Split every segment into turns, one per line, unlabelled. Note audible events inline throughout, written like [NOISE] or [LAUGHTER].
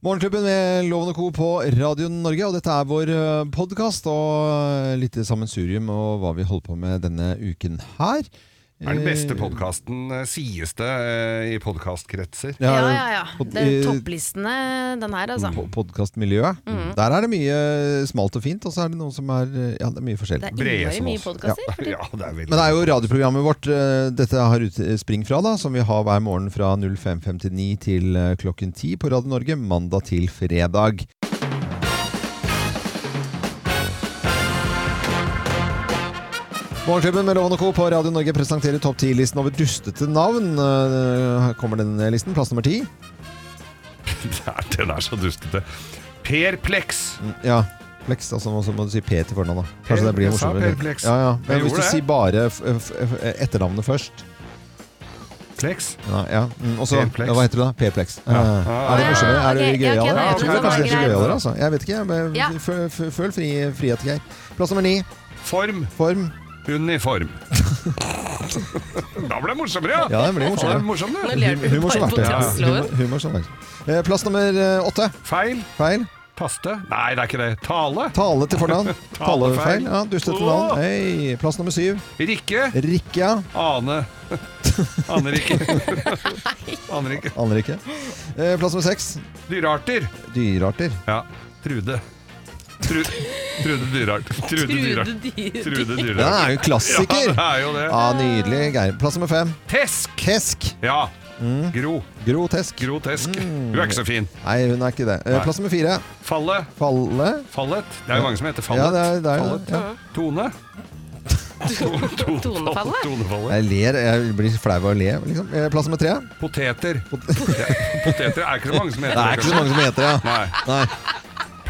Morgenklubben med Loven og Co. på Radio Norge, og dette er vår podkast og eh, litt sammensurium og hva vi holder på med denne uken her. Eh,
Det er den beste podkasten, sies det eh, i podkastkretser.
Ja, eh, Mm.
Ja, ja, ja.
pod-
Det er topplistene, den her, altså. Mm.
på podkastmiljøet. Der er det mye smalt og fint, og så er det noen som er eh, Ja, det er mye forskjellig.
Det er
Brede
innmari
som
mye
oss.
podkaster for tiden.
Ja, [LAUGHS] det er veldig
Men det er
[LAUGHS]
jo radioprogrammet vårt eh, dette har utspring fra, da, som vi har hver morgen fra 05.59 til eh, klokken 10 på Radio Norge mandag til fredag. Morgenklubben med Loven og Co. på Radio Norge presenterer topp 10-listen over dustete navn. Eh, Her kommer den listen. Plass nummer ti.
Der, Den er så dustete. Perplex.
Mm, Ja. Plex, altså og så må du si P til fornavn, da. Kanskje
Per-
det blir
jeg sa
morsommere.
Per Plex.
Ja, ja.
Jeg
Men hvis
gjorde
du
det.
sier bare f f f etternavnet først
Plex.
Ja, ja. Mm, og så,
Per Plex.
ja, hva heter du da? P-plex. Eh,
Ah.
er det morsommere? Er det
Ok, ja,
gøyere?
ok,
jeg tror
det
det
var
kanskje det er
greit.
gøyere, altså. Jeg vet ikke. Jeg, men
Ja.
f- f- føl fri, frihet, Geir. Plass nummer ni.
Form.
Form. [LAUGHS]
Uniform. da ble det morsommere, ja!
Ja, det blir
det
morsommere.
er morsomt,
Nå
det.
ler du
Humor som
bare på
verktøy.
Ja.
Tesla.
Humor- Humor som verktøy. Eh, Plass nummer eh, åtte.
Feil.
Feil.
Paste. Nei, det er ikke det. Tale.
Tale til
[LAUGHS]
fornavn.
Talefeil.
Talefeil. Ja, Dustete
Åh!
navn. Hei. Plass nummer syv.
Rikke.
Rikke. ja. [LAUGHS]
Ane. Aner ikke. Aner ikke.
Aner ikke. Eh, Plass nummer seks.
Dyrearter.
Dyrearter.
Ja. Trude. Tru, Trude Dyrart. Trude Dyrart.
Trude Dyr.
Trude
Den
Dyrart.
er jo en klassiker!
Ja, det er jo det.
Ja, Nydelig. Geir. Plass nummer fem.
Tesk.
Kesk.
Ja.
Mm.
Gro.
Grotesk.
Gro Tesk.
Mm.
Hun er ikke så fin.
Nei, hun er ikke det. Eh,
Nei.
Plass nummer fire.
Falle.
Falle.
Fallet. Det er jo mange som heter
Ja,
Fallet.
det er, det er, jo
fallet.
det. ja.
Tone.
Tonefallet.
Tonefallet.
Jeg ler, jeg blir flau av å le. Liksom. Eh, Plass nummer tre.
Poteter.
[LAUGHS]
Poteter er ikke så mange som heter
Det er ikke så mange som heter det. Ja.
Nei.
Nei.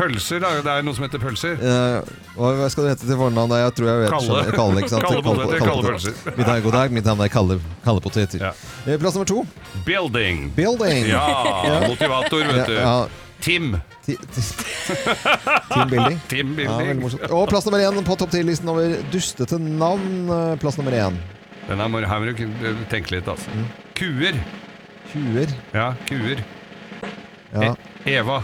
Pølser, da. det er noe som heter pølser.
Eh, hva hva skal du hete til fornavn? da? Jeg tror jeg vet.
Kalle.
skjønner. Kalle, ikke sant?
Kalle poteter, Kalle pølser.
Mitt navn, god dag, mitt navn er Kalle, Kalle Poteter.
Ja.
Eh, Plass nummer to.
Building.
Building. [LAUGHS]
Ja, motivator, vet du.
Ja,
Tim.
ti- ti- Team Building.
Tim
Ja, veldig
Building.
morsomt. Og plass nummer én på topp 10-listen over dustete navn. Eh, Plass nummer én.
Den er, mor- her må du k- tenke litt, altså.
Mm.
Kuer.
Tjuer.
Ja, kuer.
Ja.
E Eva.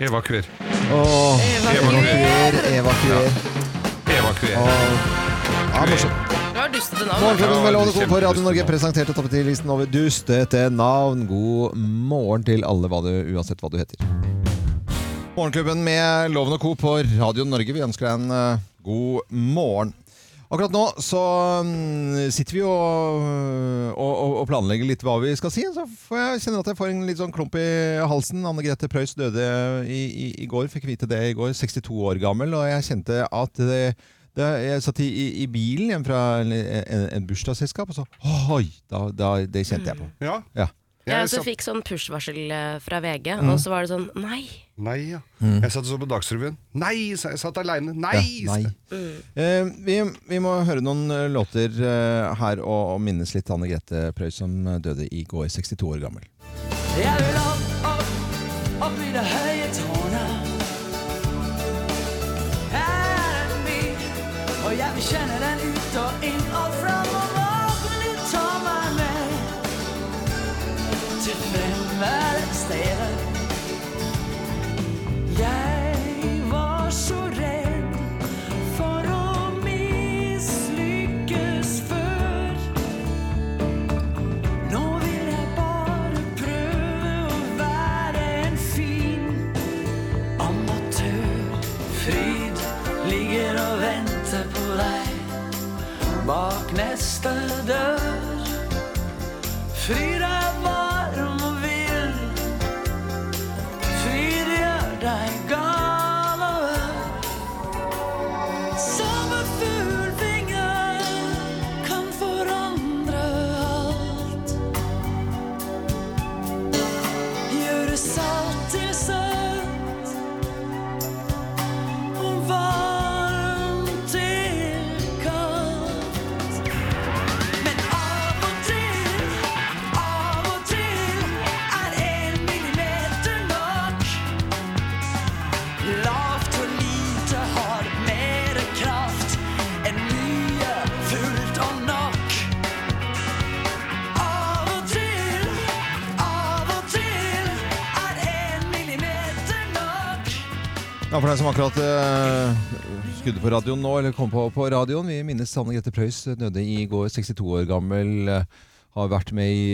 Eva kuer.
Åh,
Evakuer.
Evakuer, evakuer.
Eva kuer.
Åh. Ja, morsomt.
Det var dustete navn. da.
Morgenklubben med Lovende Co. på Radio
Kjempedustete
Norge
navn.
presenterte topp 10-listen over dustete navn. God morgen til alle, hva du, uansett hva du heter. Morgenklubben med Loven og Co. på Radio Norge. Vi ønsker deg en eh, god morgen. Akkurat nå så mm, sitter vi og, og, og, og planlegger litt hva vi skal si. Så får jeg kjenner at jeg får en litt sånn klump i halsen. Anne Grete Preus døde i, i, i går, fikk vite det i går. 62 år gammel. Og jeg kjente at det, det, Jeg satt i, i, i bilen hjem fra en, en, en bursdagsselskap, og så Oi! Da, da, det kjente jeg på.
Ja.
Ja. Mm.
Jeg
Jeg
også
satt,
fikk sånn push-varsel eh, fra VG, og så var det sånn Nei!
nei, ja. Jeg satt og så på Dagsrevyen. Nei, sa jeg. jeg satt aleine. Nei!
Ja, nei. Eh, vi, vi må høre noen eh, låter eh, her og, og minnes litt Anne Grete Preus, som eh, døde i går, 62 år gammel.
Jeg vil opp, opp, opp i det høye tårnet. Her er den min, og jeg vil kjenne den ut og inn og fram og våken du tar meg med. Til fremmede steder. Jeg var så redd for å mislykkes før. Nå vil jeg bare prøve å være en fin amatør. Fryd ligger og venter på deg bak neste dør. Fryd er varm og vill. Fryd gjør deg gal og ør. Som en fuglvinger kan forandre alt. Gjøre salt til søtt og varmt til kaldt. Men av og til, av
Ja, for deg som akkurat eh, skudde på radioen nå, eller kom på, på radioen, vi minnes Anne Grete Preus, døde i går, 62 år gammel. eh, har vært med i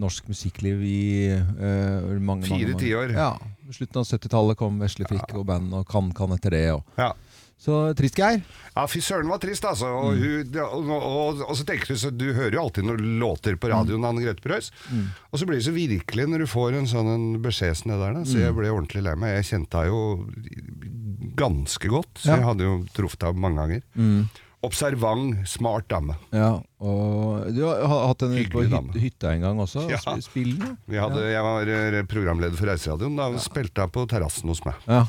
norsk musikkliv i eh, mange, mange,
Fire
mange
tiår.
Ja. Slutten av 70-tallet kom Veslefrikk og band og Kan Kan etter det. Og.
Ja.
Så trist, Geir.
Ja, fy søren var trist, altså.
Mm.
Og, hun, det- og, og, og så tenker du så Du hører jo alltid noen låter på radioen
Mm.
av Anne Grete Preus. Og så blir det så virkelig når du får en sånn en beskjed som det der.
Mm.
Da. Så jeg ble ordentlig lei meg. Jeg kjente henne jo ganske godt,
Ja.
så
Mm.
jeg hadde jo truffet henne mange ganger. Observant, smart dame.
Ja, og du har har hatt den ute på
Hyggelig
hyt,
dame.
hytta en gang også.
Ja.
sp- Spill den,
Vi hadde, Jeg var eh, programleder for Reiseradioen. Da spilte hun på terrassen hos meg.
Ja.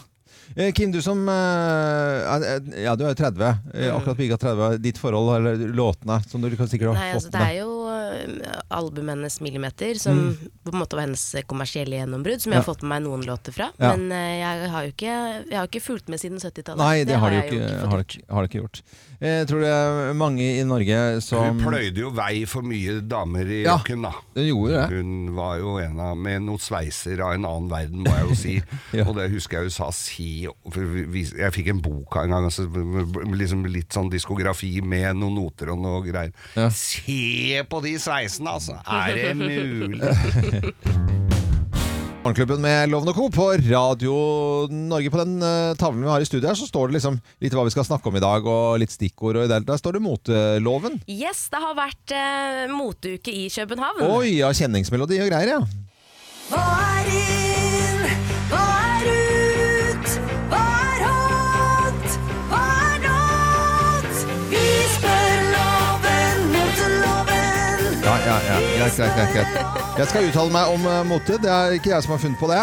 Eh, Kim, du som eh, er- er- Ja, du er jo 30. eh, Akkurat bygga 30. Ditt forhold, eller låtene, som du kan sikkert
Nei,
har fått
altså, det er
med.
jo eh, albumet hennes 'Millimeter', som på en måte var hennes kommersielle gjennombrudd, som jeg har
Mm. Ja.
fått med meg noen låter fra.
Ja.
Men eh, jeg har jo ikke, jeg har ikke fulgt med siden 70-tallet.
Nei, det, har du jo
jeg
ikke,
fått
har, du ikke- har du ikke gjort. Jeg tror det er mange i Norge som
Hun pløyde jo vei for mye damer i
Ja.
rocken, da.
Hun gjorde det.
Hun var jo en av med noen sveiser av en annen verden, må jeg jo si.
[LAUGHS] Ja.
Og det husker jeg hun sa si for vi- Jeg fikk en bok en gang, altså, liksom litt sånn diskografi med noen noter og noe greier.
Ja.
Se på de sveisene,
[LAUGHS]
altså! Er det mulig?
Morgenklubben med Loven og Co. på Radio Norge. På den eh, tavlen vi har i studio her, så står det liksom litt hva vi skal snakke om i dag, og litt stikkord. Og der, der står det eh, moteloven.
Yes, det har vært eh, moteuke i København.
Oi, ja, kjenningsmelodi og greier, ja.
Hva er inn? Hva er ut? Hva er hot? Hva er not? Vi spør loven mot loven.
Ja, ja, ja. Greit, greit, greit, greit. Jeg skal uttale meg om eh, mote. Det er ikke jeg som har funnet på det.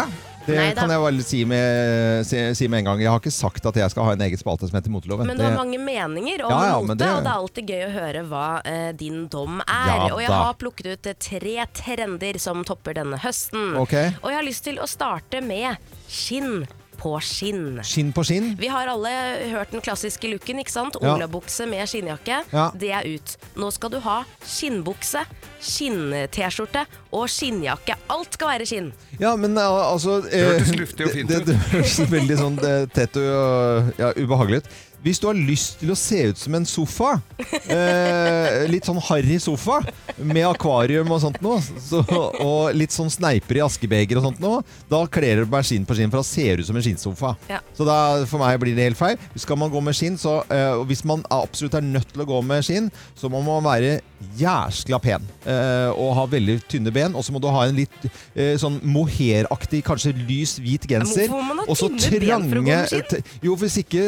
Det
Neida.
kan jeg bare si med, si, si med en gang. Jeg har ikke sagt at jeg skal ha en egen spalte som heter Moteloven.
Men du har
Det-
mange meninger om
Ja, ja,
mote,
men det-
og det er alltid gøy å høre hva eh, din dom er.
Ja,
og jeg
da.
har plukket ut eh, tre trender som topper denne høsten.
Ok.
Og jeg har lyst til å starte med skinn på skinn.
Skinn på skinn.
Vi har alle hørt den klassiske looken, ikke sant?
Ja.
Olabukse med skinnjakke.
Ja.
Det er ut. Nå skal du ha skinnbukse, skinn-T-skjorte og skinnjakke. Alt skal være skinn.
Ja, men eh, altså
hørtes
eh,
luftig og fint
det-
ut.
Det, [LAUGHS] det hørtes veldig sånn eh, tett og eh, ja, ubehagelig ut. Hvis du har lyst til å se ut som en sofa, eh, litt sånn harry sofa, med akvarium og sånt noe, så, og litt sånn sneiper i askebeger og sånt noe, da kler du deg skinn på skinn, for da ser du ut som en skinnsofa.
Ja.
Så da, for meg blir det helt feil. Skal man gå med skinn, så eh, og Hvis man absolutt er nødt til å gå med skinn, så må man være jæskla pen. eh, og ha veldig tynne ben. Og så må du ha en litt eh, sånn moheraktig, kanskje lys hvit genser.
hvorfor må man ha
Og så
tynne ben for å gå
trange
med skinn?
t- Jo, hvis ikke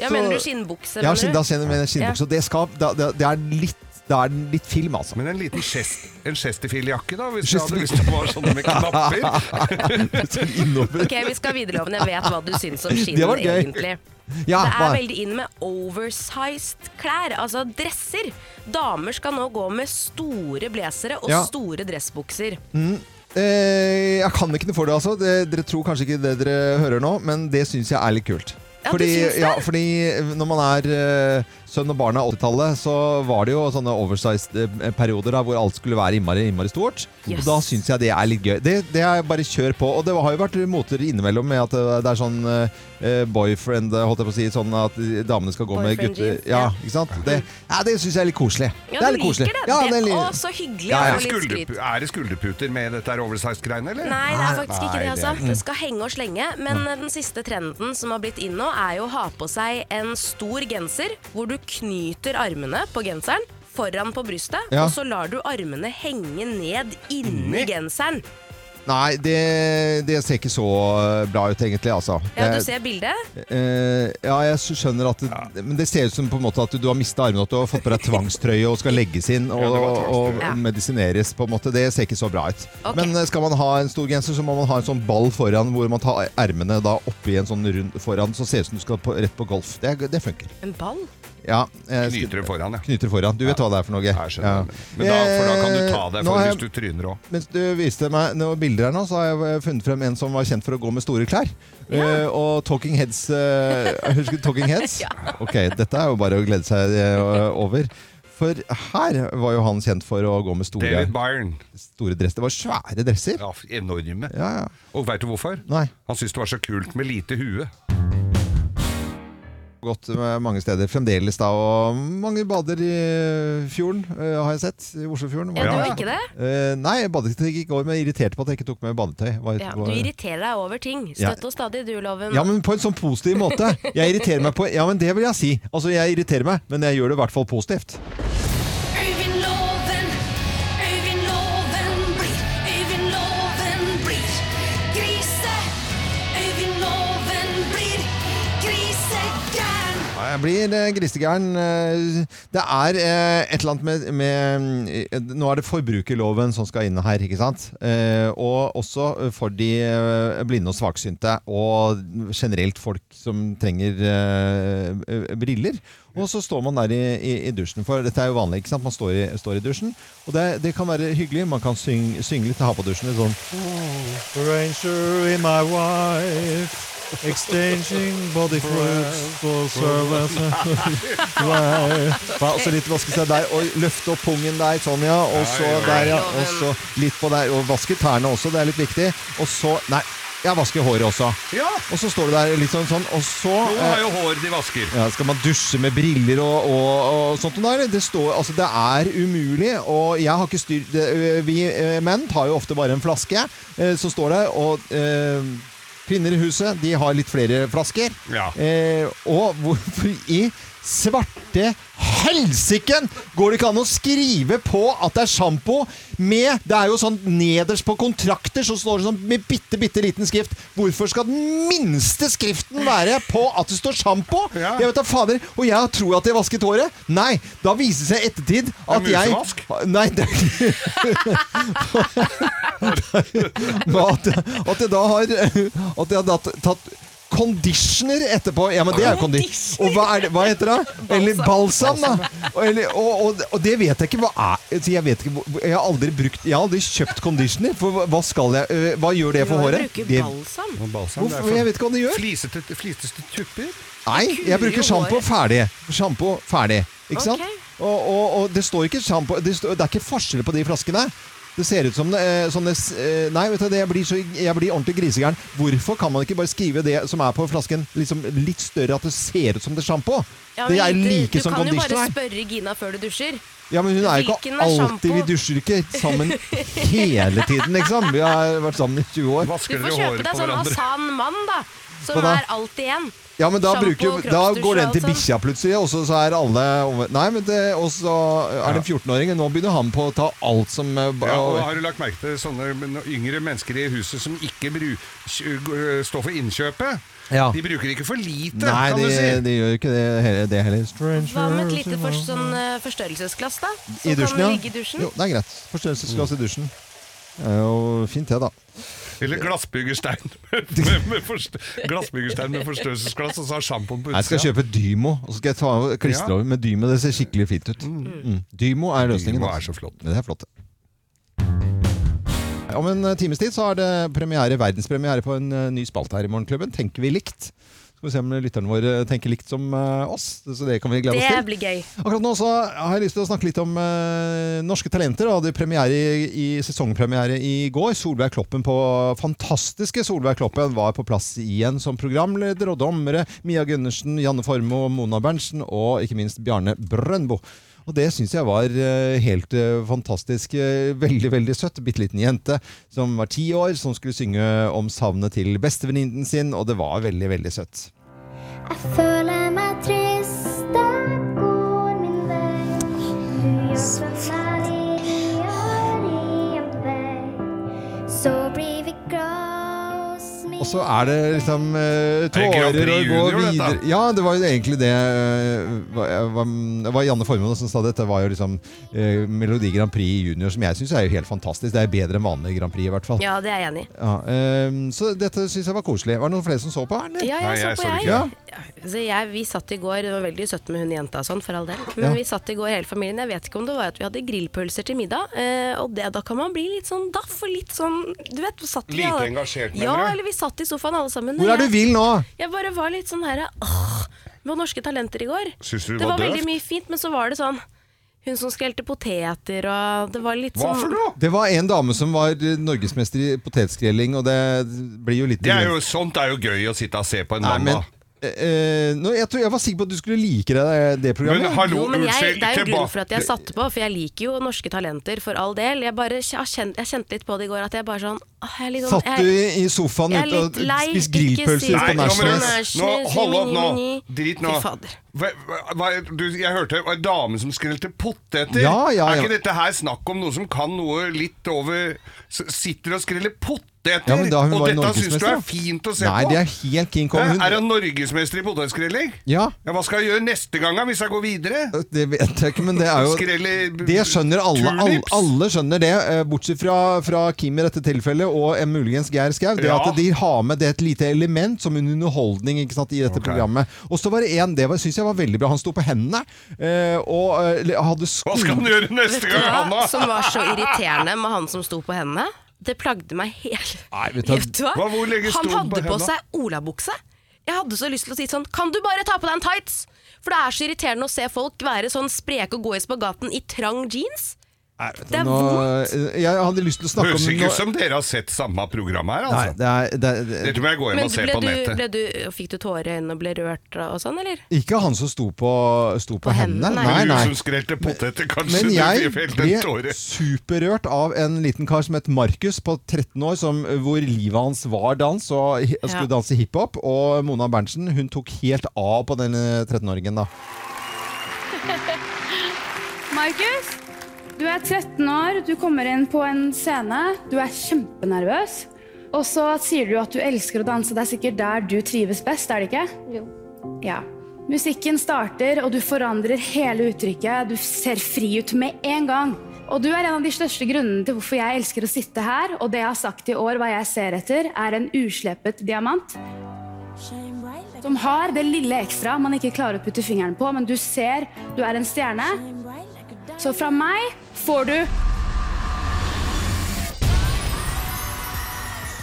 Ja,
så-
mener du skinnbukse?
Ja,
mener
skinn,
du?
da kjenner jeg med skinnbukse. Det, skal, da, det, det er litt, det er litt film, altså. [LAUGHS]
Men en liten chest- en Chesterfield-jakke, da, hvis du hadde lyst til å ha sånne
[LAUGHS]
med knapper.
Sånn innover.
Ok, vi skal videre, Loven. Jeg vet hva du syns om
[LAUGHS]
skinn,
Det var gøy.
egentlig.
Ja,
Det er
Ah, hva-
veldig inn med oversized klær, altså dresser. Damer skal nå gå med store blazere og
Ja. Mm.
store dressbukser.
Eh, jeg kan ikke noe for det, altså. Det, dere tror kanskje ikke det dere hører nå, men det syns jeg er litt kult.
Ja, du
Fordi,
syns det?
ja, fordi når man er eh, sønn og barn av 80-tallet, så var det jo sånne oversized-perioder hvor alt skulle være innmari, innmari stort.
Yes.
Og da syns jeg det er litt gøy. Det, det er bare kjør på. Og det har jo vært moter innimellom med at det er sånn eh, boyfriend, holdt jeg på å si, sånn at damene skal gå med
Boyfriend
gutter.
jeans,
Ja,
ja.
ikke sant? Det, ja, det syns jeg er litt koselig.
Ja,
det er
du
litt
liker
koselig.
det.
Ja,
det
er litt-
Å, så hyggelig.
Ja, ja.
og Litt skryt.
Skulderpu- Er det skulderputer med dette her oversized-greiene, eller?
Nei, det
Ah,
er faktisk ikke
Nei,
det.
det er
altså. Det skal henge og slenge. Men
Mm.
eh, den siste trenden som har blitt inn nå, er jo å ha på seg en stor genser hvor du knyter armene på genseren foran på brystet,
Ja.
og så lar du armene henge ned inni
Inni?
genseren.
Nei, det, det ser ikke så bra ut egentlig, altså.
Ja, du
Det-
ser bildet.
eh, ja jeg skjønner at det, Men det ser ut som på en måte at du har mista armene, at du har fått på
[LAUGHS]
deg tvangstrøye og skal legges inn og,
Ja, det var
og
tvangstrøye.
Ja.
medisineres, på en måte. Det ser ikke så bra ut.
Ok.
Men eh, skal man ha en stor genser, så må man ha en sånn ball foran hvor man tar ermene da oppi en sånn rund foran, så ser det ut som du skal på, rett på golf. Det, er- det funker.
En ball.
Ja, eh, sk-
Knyter det foran, ja.
knyter foran. Du vet hva det er for noe.
Jeg skjønner.
Ja.
Men da, for da kan du ta
Eh,
deg
nå
for
har jeg-
hvis du tryner òg.
mens du viste meg noen bilder her nå, så har jeg eh, funnet frem en som var kjent for å gå med store klær. Eh, og Talking Heads eh, Husker du Talking Heads? Ok, dette er jo bare å glede seg eh, over. For her var jo han kjent for å gå med store,
David Byrne.
store dresser. Det var svære dresser.
Ja, enorme.
Ja, ja.
Og veit du hvorfor?
Nei.
Han syntes det var så kult med lite hue.
Gått eh, mange steder fremdeles da, og mange bader i eh, fjorden, eh, har jeg sett. I Oslofjorden.
Ja, du
Ja.
gjør ikke det?
Eh, nei, jeg badet ikke i går, men jeg irriterte på at jeg ikke tok med badetøy. Var-
Ja,
var-
du irriterer deg over ting.
Ja.
Støtt og stadig, du, Loven.
Ja, men på en sånn positiv måte. Jeg irriterer meg på Ja, men det vil jeg si. Altså, jeg irriterer meg, men jeg gjør det i hvert fall positivt.
Øyvind Loven, Øyvind Loven blir, Øyvind Loven blir grise. Øyvind Loven blir grisegæren.
Ja, Jeg blir eh, grisegæren. Eh, Det er eh, et eller annet med, med eh, Nå er det forbrukerloven som skal inn her, ikke sant? Eh, Og også eh, for de eh, blinde og svaksynte, og generelt folk som trenger eh, eh, briller. Og så står man der i, i, i dusjen, for dette er jo vanlig. ikke sant? Man står i, står i dusjen. Og det, det kan være hyggelig. Man kan synge, synge litt og ha på dusjen. litt Sånn Ranger in my wife Exchanging body fruits for [LAUGHS] service Hva, Og så litt vaske seg der Og løfte opp pungen der, sånn ja Og så der ja, og så litt på der Og vaske tærne også, det er litt viktig Og så, nei, jeg vasker håret også
Ja!
Og så står du der litt sånn sånn Og så
Noen
eh,
har jo hår de vasker.
ja, skal man dusje med briller og, og, og sånt? Nei, det, står, altså, det er umulig, og jeg har ikke styr... det, øh, Vi øh, menn tar jo ofte bare en flaske øh, som står der, og øh, kvinner i huset de har litt flere flasker.
Ja.
Eh, og hvorfor i svarte helsiken går det ikke an å skrive på at det er sjampo med Det er jo sånn nederst på kontrakter så står det sånn med bitte, bitte liten skrift. Hvorfor skal den minste skriften være på at det står sjampo?
Ja.
Jeg vet da fader. Og jeg tror at jeg vasket håret. Nei, da viser det seg i ettertid at jeg
musevask?
Nei, det [LAUGHS] Men at, at jeg da har At jeg da t- tatt Conditioner etterpå Ja, men det er jo condi Og hva, er det, hva heter det? Eller balsam da og, eller, og, og, og det vet jeg ikke Hva er altså, Jeg vet ikke hvor- Jeg har aldri brukt Jeg har aldri kjøpt conditioner For hva- hva skal jeg øh, Hva gjør det for håret?
bruker
Det,
balsam.
Balsam, det er
hvorfor,
for
jeg vet ikke hva det gjør
Flisete, fliseste tupper.
Nei, jeg bruker sjampo ferdig. Sjampo ferdig. Ikke sant?
Ok.
Og, og, og det står ikke sjampo det, står- det er ikke forskjell på de flaskene. Det ser ut som eh, sånne s- eh, Nei, vet du, det, jeg, blir så, jeg blir ordentlig grisegæren. Hvorfor kan man ikke bare skrive det som er på flasken, liksom litt større, at det ser ut som det er sjampo?
Ja,
det er
men du-
like som
Du kan jo
conditioner.
bare spørre Gina før du dusjer.
Ja, men hun er jo
Hvilken
ikke
er
alltid Vi
sjampo?
dusjer ikke
[LAUGHS]
sammen hele tiden, liksom. Vi har vært sammen i 20 år.
Du
Vasker
får
dere
kjøpe
håret
deg
på
sånn
hverandre?
Asan mann, da. Som
Hva da?
er alt igjen.
Ja, men da,
Sjampo,
bruker, da
kroppsdusj
går den
og
til
alt
bikkja plutselig, og så, så er alle over- Nei, men det, og så er det en 14-åring, og nå begynner han på å ta alt som eh, ba-
Ja, og Har du lagt merke til sånne men- yngre mennesker i huset som ikke bru, kj- g- øh, står for innkjøpet?
Ja.
De bruker ikke for lite,
Nei,
kan
de,
du si.
de gjør ikke det, he- det heller. Strange
Hva med et lite for, sånn, eh, forstørrelsesglass, da? Som
I dusjen,
kan
ja.
ligge i dusjen.
Jo, det er greit. Forstørrelsesglass i dusjen. Det er jo fint, det, da.
Eller glassbyggerstein [LAUGHS] med, med forst glassbyggerstein med forstørrelsesglass, og så har sjampoen på
Jeg skal
utsida.
kjøpe Dymo, og så skal jeg ta klistre
Ja.
over med Dymo. Det ser skikkelig fint ut. Mm. Dymo er løsningen.
Dymo er
altså.
så flott.
Det er flott. det. Om en eh, times tid så er det premiere, verdenspremiere på en eh, ny spalte her i Morgenklubben. Tenker vi likt? Skal vi se om lytterne våre tenker likt som eh, oss. Så det kan vi glede oss
Det
til.
blir gøy.
Akkurat nå så har jeg lyst til å snakke litt om eh, norske talenter. Da. Det hadde premiere i, i sesongpremiere i går. Solveig Kloppen på fantastiske Solveig Kloppen var på plass igjen som programleder og dommere. Mia Gundersen, Janne Formoe, Mona Berntsen og ikke minst Bjarne Brøndbo. Og det syns jeg var eh, helt eh, fantastisk. eh, Veldig, veldig søtt. Bitte liten jente som var ti år, som skulle synge om savnet til bestevenninnen sin, og det var veldig, veldig søtt.
Jeg føler meg trist, det går min vei. Du hjelper meg i år i en vei. Så blir vi glad og
Og så
smiler.
er det liksom eh,
Det er
tårer og
Grand Prix
gå
Junior, dette.
videre. Ja, det var jo egentlig det eh, var, var- Det var Janne Formoe som sa det. Dette var jo liksom eh, Melodi Grand Prix Junior, som jeg syns er jo helt fantastisk. Det er bedre enn vanlig Grand Prix, i hvert fall.
Ja, det er jeg enig i.
Ja, eh, så dette syns jeg var koselig. Var det noen flere som så på? Eller?
Ja,
Nei,
jeg
jeg
så
så
på,
det
jeg.
ikke.
Ja, så jeg. Vi satt i går, det var veldig søtt med hun jenta og sånn, for all del. Men
Ja.
vi satt i går hele familien. Jeg vet ikke om det var at vi hadde grillpølser til middag, eh, og det, da kan man bli litt sånn daff og litt sånn Du vet, satt vi
Lite
alle
engasjert, mener
Ja,
du?
eller vi satt i sofaen alle sammen.
Hvor
og
er du
jeg-
vill nå?
Jeg bare var litt sånn her Åh, med norske talenter i går.
Syns du det
det
var
var veldig
døvt?
mye fint, men så var det sånn Hun som skrelte poteter og Det var litt
Hva
sånn
for noe?!
Det var en dame som var eh, norgesmester i potetskrelling, og det blir jo litt
Det er jo, sånt er jo gøy å sitte og se på en
Nei, men
mandag.
eh, nå, jeg, tror, jeg var sikker på at du skulle like det, det programmet.
Men hallo,
Jo, men jeg,
unnskyld,
det er jo en grunn
tilbake-
for at jeg satte på, for jeg liker jo norske talenter for all del. Jeg bare jeg har kjent, jeg kjente litt på det i går at jeg bare sånn åh, jeg er litt sånn-
Satt du
jeg-
i sofaen
jeg er
ute og
litt lei,
spiste
ikke si-
grillpølser
Nei,
på
nå, må
Nashnes?
du- nå, hold opp nå. Drit nå.
Fy fader.
Hva, hva- hva, du, jeg hørte det var en dame som skrelte poteter.
Ja, ja,
Er
ja.
ikke dette her snakk om noen som kan noe litt over s- Sitter og skreller poteter?
Ja, men da hun
og
var
dette syns du
norgesmester, da.
er fint å se
Nei,
på?
det er helt King Kong.
Hæ,
Hun,
Er han norgesmester i potetskrelling?
Ja.
Hva skal jeg gjøre neste gang da, hvis jeg går videre?
det vet jeg ikke, men det er jo
Skrelle b-
Det skjønner alle. Alle,
turnips?
alle skjønner det, eh, bortsett fra, fra Kim i dette tilfellet, og eh, muligens Geir Skau. Det
Ja.
at de har med det et lite element som en underholdning ikke sant, i dette programmet. Og så var det en, det syns jeg var veldig bra. Han sto på hendene eh, og eh, hadde sko
Hva skal han gjøre neste gang,
Hva
Hanna?
som var så irriterende med han som sto på hendene, det plagde meg helt.
Nei, vet du-
Hva, hvor lenge sto
han
han på
hadde på
hendene?
seg olabukse. Jeg hadde så lyst til å si sånn Kan du bare ta på deg en tights? For det er så irriterende å se folk være sånn spreke og gå i spagaten i trang jeans. Det er
Nå,
vondt.
eh, jeg hadde lyst til å snakke
Høres
om nå-
ikke ut som dere har sett samme program her,
Nei,
altså.
det er, det er, det
Dette må jeg gå hjem
Men
og se
ble
på
du,
nettet.
ble du, fikk du tårer i øynene og ble rørt og sånn, eller?
ikke han som sto på, sto på,
På
hendene.
hendene,
Nei,
nei.
Du
nei.
som skrelte poteter, kanskje
Men jeg
du felt en
ble
tåre.
superrørt av en liten kar som het Markus på 13 år, som, hvor livet hans var dans, og hi- skulle danse hiphop. Og Mona Berntsen hun tok helt av på denne 13-åringen, da.
Markus, du er 13 år, du kommer inn på en scene, du er kjempenervøs. Og så sier du at du elsker å danse, det er sikkert der du trives best, er det ikke?
Jo.
Ja. Musikken starter, og du forandrer hele uttrykket, du ser fri ut med en gang. Og du er en av de største grunnene til hvorfor jeg elsker å sitte her, og det jeg har sagt i år, hva jeg ser etter, er en uslepet diamant. Som har det lille ekstra man ikke klarer å putte fingeren på, men du ser du er en stjerne. Så fra meg får du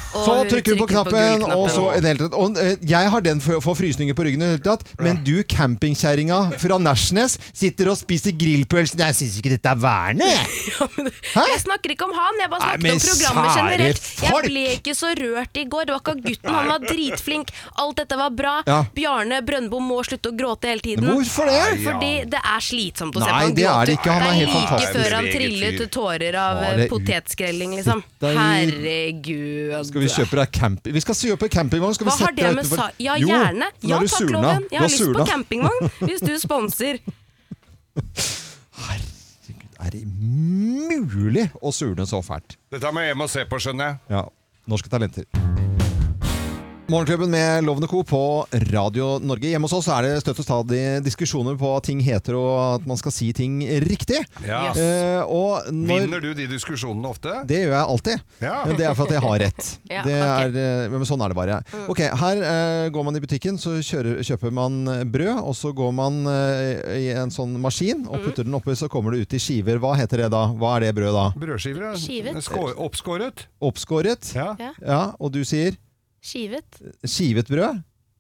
Og
Så
hun
trykker hun på knappen,
gullknappen.
og så en helt rett. Og eh, jeg har den for, for frysninger på ryggen, i det hele tatt, men du, campingkjerringa fra Nashnes, sitter og spiser grillpølse. Nei, Jeg syns ikke dette er værende, [LAUGHS] jeg. Hæ?
Jeg snakker ikke om han, jeg
Nei,
bare snakker
men
om programmet
sære
generelt.
folk!
Jeg ble ikke så rørt i går. Det var ikke av gutten, han var dritflink. Alt dette var bra.
Ja.
Bjarne Brøndbo må slutte å gråte hele tiden.
Hvorfor det?
Fordi det er slitsomt å se
Nei,
på han
det er
gråte.
det ikke. Han er helt
like
fantastisk.
før han
Eget
triller
fyr.
ut tårer av
Bare
eh,
ut-
potetskreling, liksom.
Sitt deg i-
Herregud. altså.
Skal vi kjøpe deg camping? Vi skal kjøpe campingvogn. skal vi
Hva har
sette
det
deg
med
utenfor-
sa... Ja,
Jo,
gjerne.
nå
Ja
er du
takk,
surna.
Loven.
Du
Jeg har
er
lyst på
surna.
campingvogn,
[LAUGHS]
hvis du sponser.
Herregud, er det mulig å surne så fælt?
Dette må jeg hjem og se på, skjønner jeg.
Ja, norske talenter. Morgenklubben med Lovende Co. på Radio Norge. Hjemme hos oss er det støtt og stadig diskusjoner på hva ting heter, og at man skal si ting riktig.
Ja.
Eh, og når
Vinner du de diskusjonene ofte?
det gjør jeg alltid.
Ja.
Men Det er for at jeg har rett.
[LAUGHS] Ja,
det
ok. Mm.
er, eh, men sånn er det bare. Ok, Her eh, går man i butikken, så kjører, kjøper man eh, brød, og så går man eh, i en sånn maskin
Mm.
og putter den oppi, så kommer det ut i skiver. Hva heter det da? Hva er det brødet da?
Brødskiver? ja.
Skivet.
Skå- Oppskåret?
Oppskåret?
Ja.
Ja.
Ja, og du sier
Skivet.
skivet brød?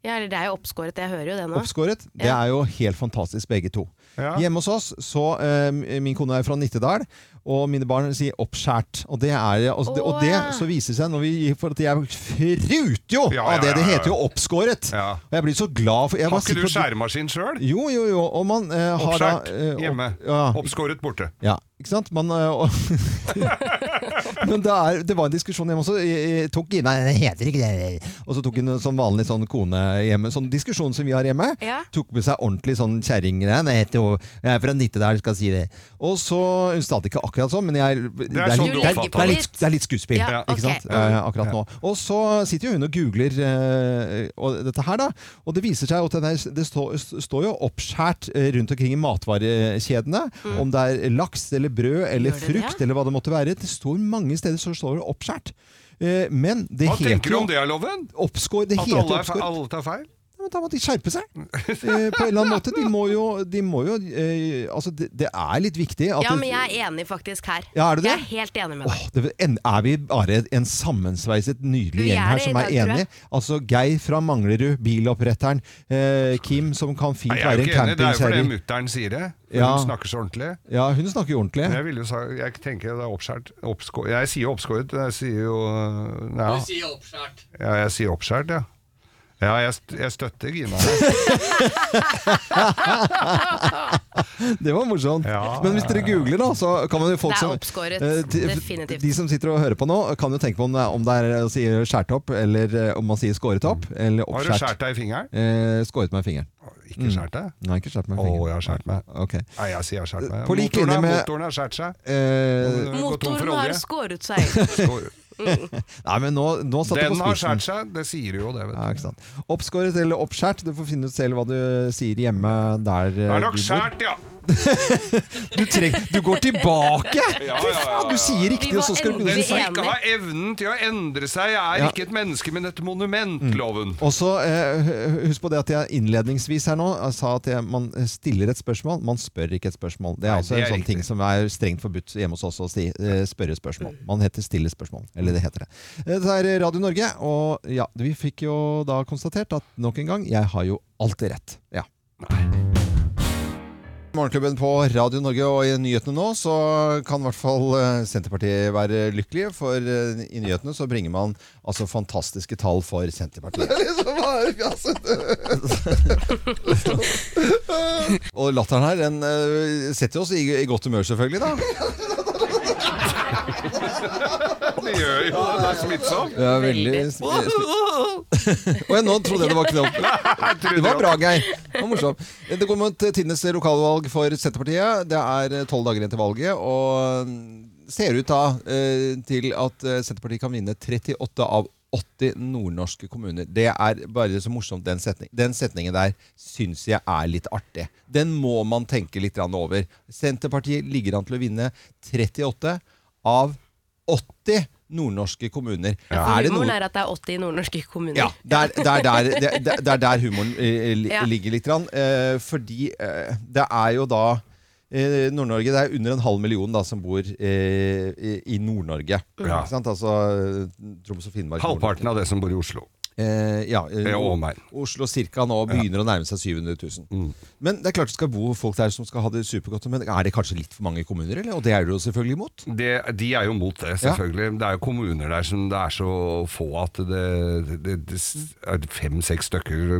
Ja, eller det er jo oppskåret, jeg hører jo det nå.
Oppskåret? Det
Ja.
er jo helt fantastisk, begge to.
Ja.
Hjemme hos oss, så eh, Min kone er fra Nittedal, og mine barn sier 'oppskjært'. Og det, er, og, det, og det
Åh.
så viser det seg når vi For at jeg fruter jo
Ja,
av det!
ja,
Det
ja, ja.
heter jo 'oppskåret'.
Ja.
Og jeg blir så glad for jeg var
Har ikke
sikker
du
på at-
skjæremaskin sjøl?
Jo, jo, jo. Og man eh, har da
Oppskåret
eh, opp-
hjemme.
Ja,
Oppskåret borte.
ja, ikke sant? Man, eh, og- [LAUGHS] Men det, er, det var en diskusjon hjemme også. Jeg, jeg tok Ina det heter ikke det. Og så tok hun en sånn vanlig sånn kone hjemme. Sånn diskusjon som vi har hjemme.
Ja.
Tok med seg ordentlig sånn kjerringrein. Jeg heter jo- jeg er fra Nittedal, skal si det. Og så Hun sa det ikke akkurat sånn, men jeg Det
er sånn
litt-
du
det er-
oppfatter
det er
det.
litt- Det er litt skuespill,
Ja,
ikke sant?
ok.
Eh, akkurat nå. Og så sitter jo hun og googler eh, og dette her, da. Og det viser seg jo at den er, det står, står jo oppskjært eh, rundt omkring i matvarekjedene. Om det er laks eller brød eller
Mm. Gjør det det?
frukt eller hva det måtte være. Det står mange steder så står det oppskjært. Eh, Men det
Hva
heter
tenker du
jo
om det, er Loven?
oppskår. Det
At
heter
alle, er, fe-
oppskår.
alle tar feil?
Ja, men da må de skjerpe
[LAUGHS]
seg. Eh, på en eller annen måte. De må jo, de må jo eh, Altså, det, det er litt viktig at
Ja, men jeg er enig faktisk her.
Ja, er du det?
Jeg er helt enig med deg.
Åh, det, en, er vi bare en sammensveiset,
Vi
nydelig gjeng
er
her
det i
som er
dag, tror jeg.
enige? Altså Geir fra Manglerud, bilopppretteren. Eh, Kim, som kan fint
Nei, jeg er
være
jo
en
ikke enig. Det er jo fordi
campingkjerring.
mutter'n sier det. Hun
Ja.
snakker så ordentlig.
Ja, hun snakker jo ordentlig.
Jeg, ville jo sa, jeg tenker det er oppskjært. Oppskå, jeg sier jo oppskåret. Jeg sier jo øh, ja.
sier oppskjært.
ja, jeg sier oppskjært, ja. Ja, jeg, st- jeg støtter
[LAUGHS]
Gina.
Det var morsomt.
Ja,
Men hvis dere googler, da, så kan man jo folk
Det er
som
oppskåret,
Eh, de-
definitivt.
De som sitter og hører på nå, kan jo tenke på om det er, om det er eh, å si skjært opp, eller eh, om man sier skåret opp, eller
Har du skåret
oppskjært.
deg i fingeren?
Eh, skåret meg i fingeren.
Ikke skåret deg?
Nei, ikke skjært meg i
Å,
fingeren.
jeg har skåret meg.
Ok.
Nei, jeg sier jeg har skåret meg.
På lik
Motoren
linje
har-
med-
Motoren har skåret seg.
Eh,
Den har gått tom for
Motoren har
olje.
skåret seg.
Skår-
nei, men nå, nå satt det på
Den har
spissen.
skåret seg, det sier du jo det, vet
Ja,
du.
ikke sant. Oppskåret eller oppskjært, du får finne ut selv hva du sier hjemme der eh,
Det er nok
du bor.
skåret, ja!
Du, treng, du går tilbake!
Ja, ja,
Fy
ja,
faen,
ja, ja.
du sier riktig,
Vi
og så skal du
var
begynne
Den
å si
som ikke har evnen til å endre seg, er
Ja.
ikke et menneske, men et monument, loven.
Og så eh, Husk på det at jeg innledningsvis her nå eh, sa at jeg, man stiller et spørsmål, man spør ikke et spørsmål. Det er
Nei,
altså
det
en
er
sånn
riktig.
ting som er strengt forbudt hjemme hos oss å si, eh, spørre spørsmål. Man heter stille spørsmål. Eller det heter det. Eh, Det er Radio Norge, og ja, vi fikk jo da konstatert at nok en gang, jeg har jo alltid rett. Ja. Morgenklubben på Radio Norge og i nyhetene nå, så kan i hvert fall eh, Senterpartiet være lykkelige, for eh, i nyhetene så bringer man altså fantastiske tall for Senterpartiet. Og latteren her, den eh, setter oss i, i godt humør selvfølgelig da.
Det gjør jo det, det er smittsomt.
Ja, veldig. sp- sp- Oi, nå trodde [LAUGHS] jeg det var knopp. Det var bra, Geir. Det var morsomt. Det går mot eh, tidenes lokalvalg for Senterpartiet. Det er eh, tolv dager igjen til valget, og mm, ser ut da eh, til at eh, Senterpartiet kan vinne 38 av 80 nordnorske kommuner. Det er bare så morsomt, den setningen. Den setningen der syns jeg er litt artig. Den må man tenke litt grann over. Senterpartiet ligger an til å vinne 38 av 80 nordnorske kommuner.
For
[LAUGHS] Er det
Humoren
noe-
er at det er 80 nordnorske kommuner.
ja, det er det er der, det er- det er der humoren eh, li-
Ja.
ligger litt. Grann. Eh, fordi eh, det er jo da eh, Nord-Norge, det er under en halv million da, som bor eh, i i Nord-Norge.
Ja.
Ikke sant? Altså eh, Troms og Finnmark.
Halvparten av det som bor i Oslo.
Eh, ja, eh,
Det er omegn. Mm.
Oslo cirka nå begynner å nærme seg 700 000. Men det er klart det skal bo folk der som skal ha det supergodt. Men er det kanskje litt for mange kommuner, eller? Og det er du jo selvfølgelig imot.
Det, de er jo mot det, selvfølgelig. Det er jo kommuner der som det er så få at det, det, det er fem-seks stykker,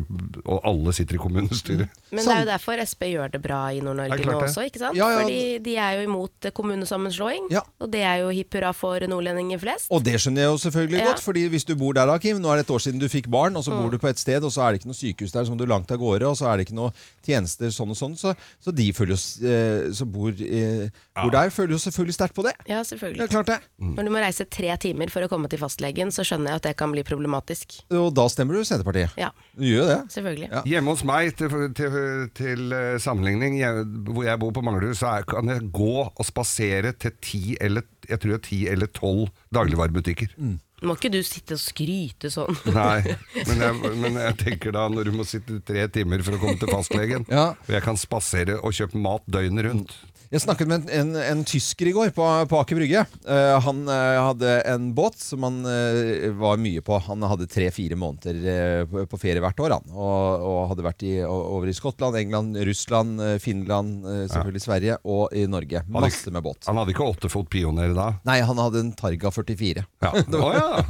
og alle sitter i kommunestyret.
sånn.
Men det er jo derfor Sp gjør det bra i
Det
Nord-Norge
er klart
nå
det.
også, ikke sant?
Ja, ja.
Fordi de er jo imot eh, kommunesammenslåing,
Ja.
og det er jo hipp hurra for nordlendinger flest.
Og det skjønner jeg jo selvfølgelig
Ja. Mm.
godt, fordi hvis du bor der da, Kim, nå er det et år siden du fikk barn, og så bor du på et sted, og så er det ikke noe sykehus der som du langt av gårde, og så er det ikke noe tjenester sånn og sånn, så, så de føler jo, s- eh, som bor, eh, bor der, føler jo selvfølgelig sterkt på det.
Ja,
Det er
selvfølgelig.
klart det.
Når du må reise tre timer for å komme til fastlegen, så skjønner jeg at det kan bli problematisk.
Og da stemmer du Senterpartiet.
Ja,
Du gjør jo det.
selvfølgelig.
Ja.
Hjemme hos meg, til, til, til eh, sammenligning, jeg, hvor jeg bor på Manglerud, så er, kan jeg gå og spasere til ti eller, jeg tror det er ti eller tolv dagligvarebutikker.
Mm.
Må ikke du sitte og skryte sånn? [LAUGHS]
Nei, men jeg, men jeg tenker da når du må sitte tre timer for å komme til fastlegen,
[LAUGHS] Ja. Mm.
og jeg kan spasere og kjøpe mat døgnet rundt.
Jeg snakket med en, en, en tysker i går på, på Aker Brygge. Eh, han eh, hadde en båt som han eh, var mye på. Han hadde tre-fire måneder eh, på- på ferie hvert år, han. Og, og hadde vært i, o- over i Skottland, England, Russland, eh, Finland, eh, selvfølgelig Sverige og i Norge. Masse med båt.
Han hadde ikke åttefot pioner da.
Nei, han hadde en Targa 44.
Ja. Å ja.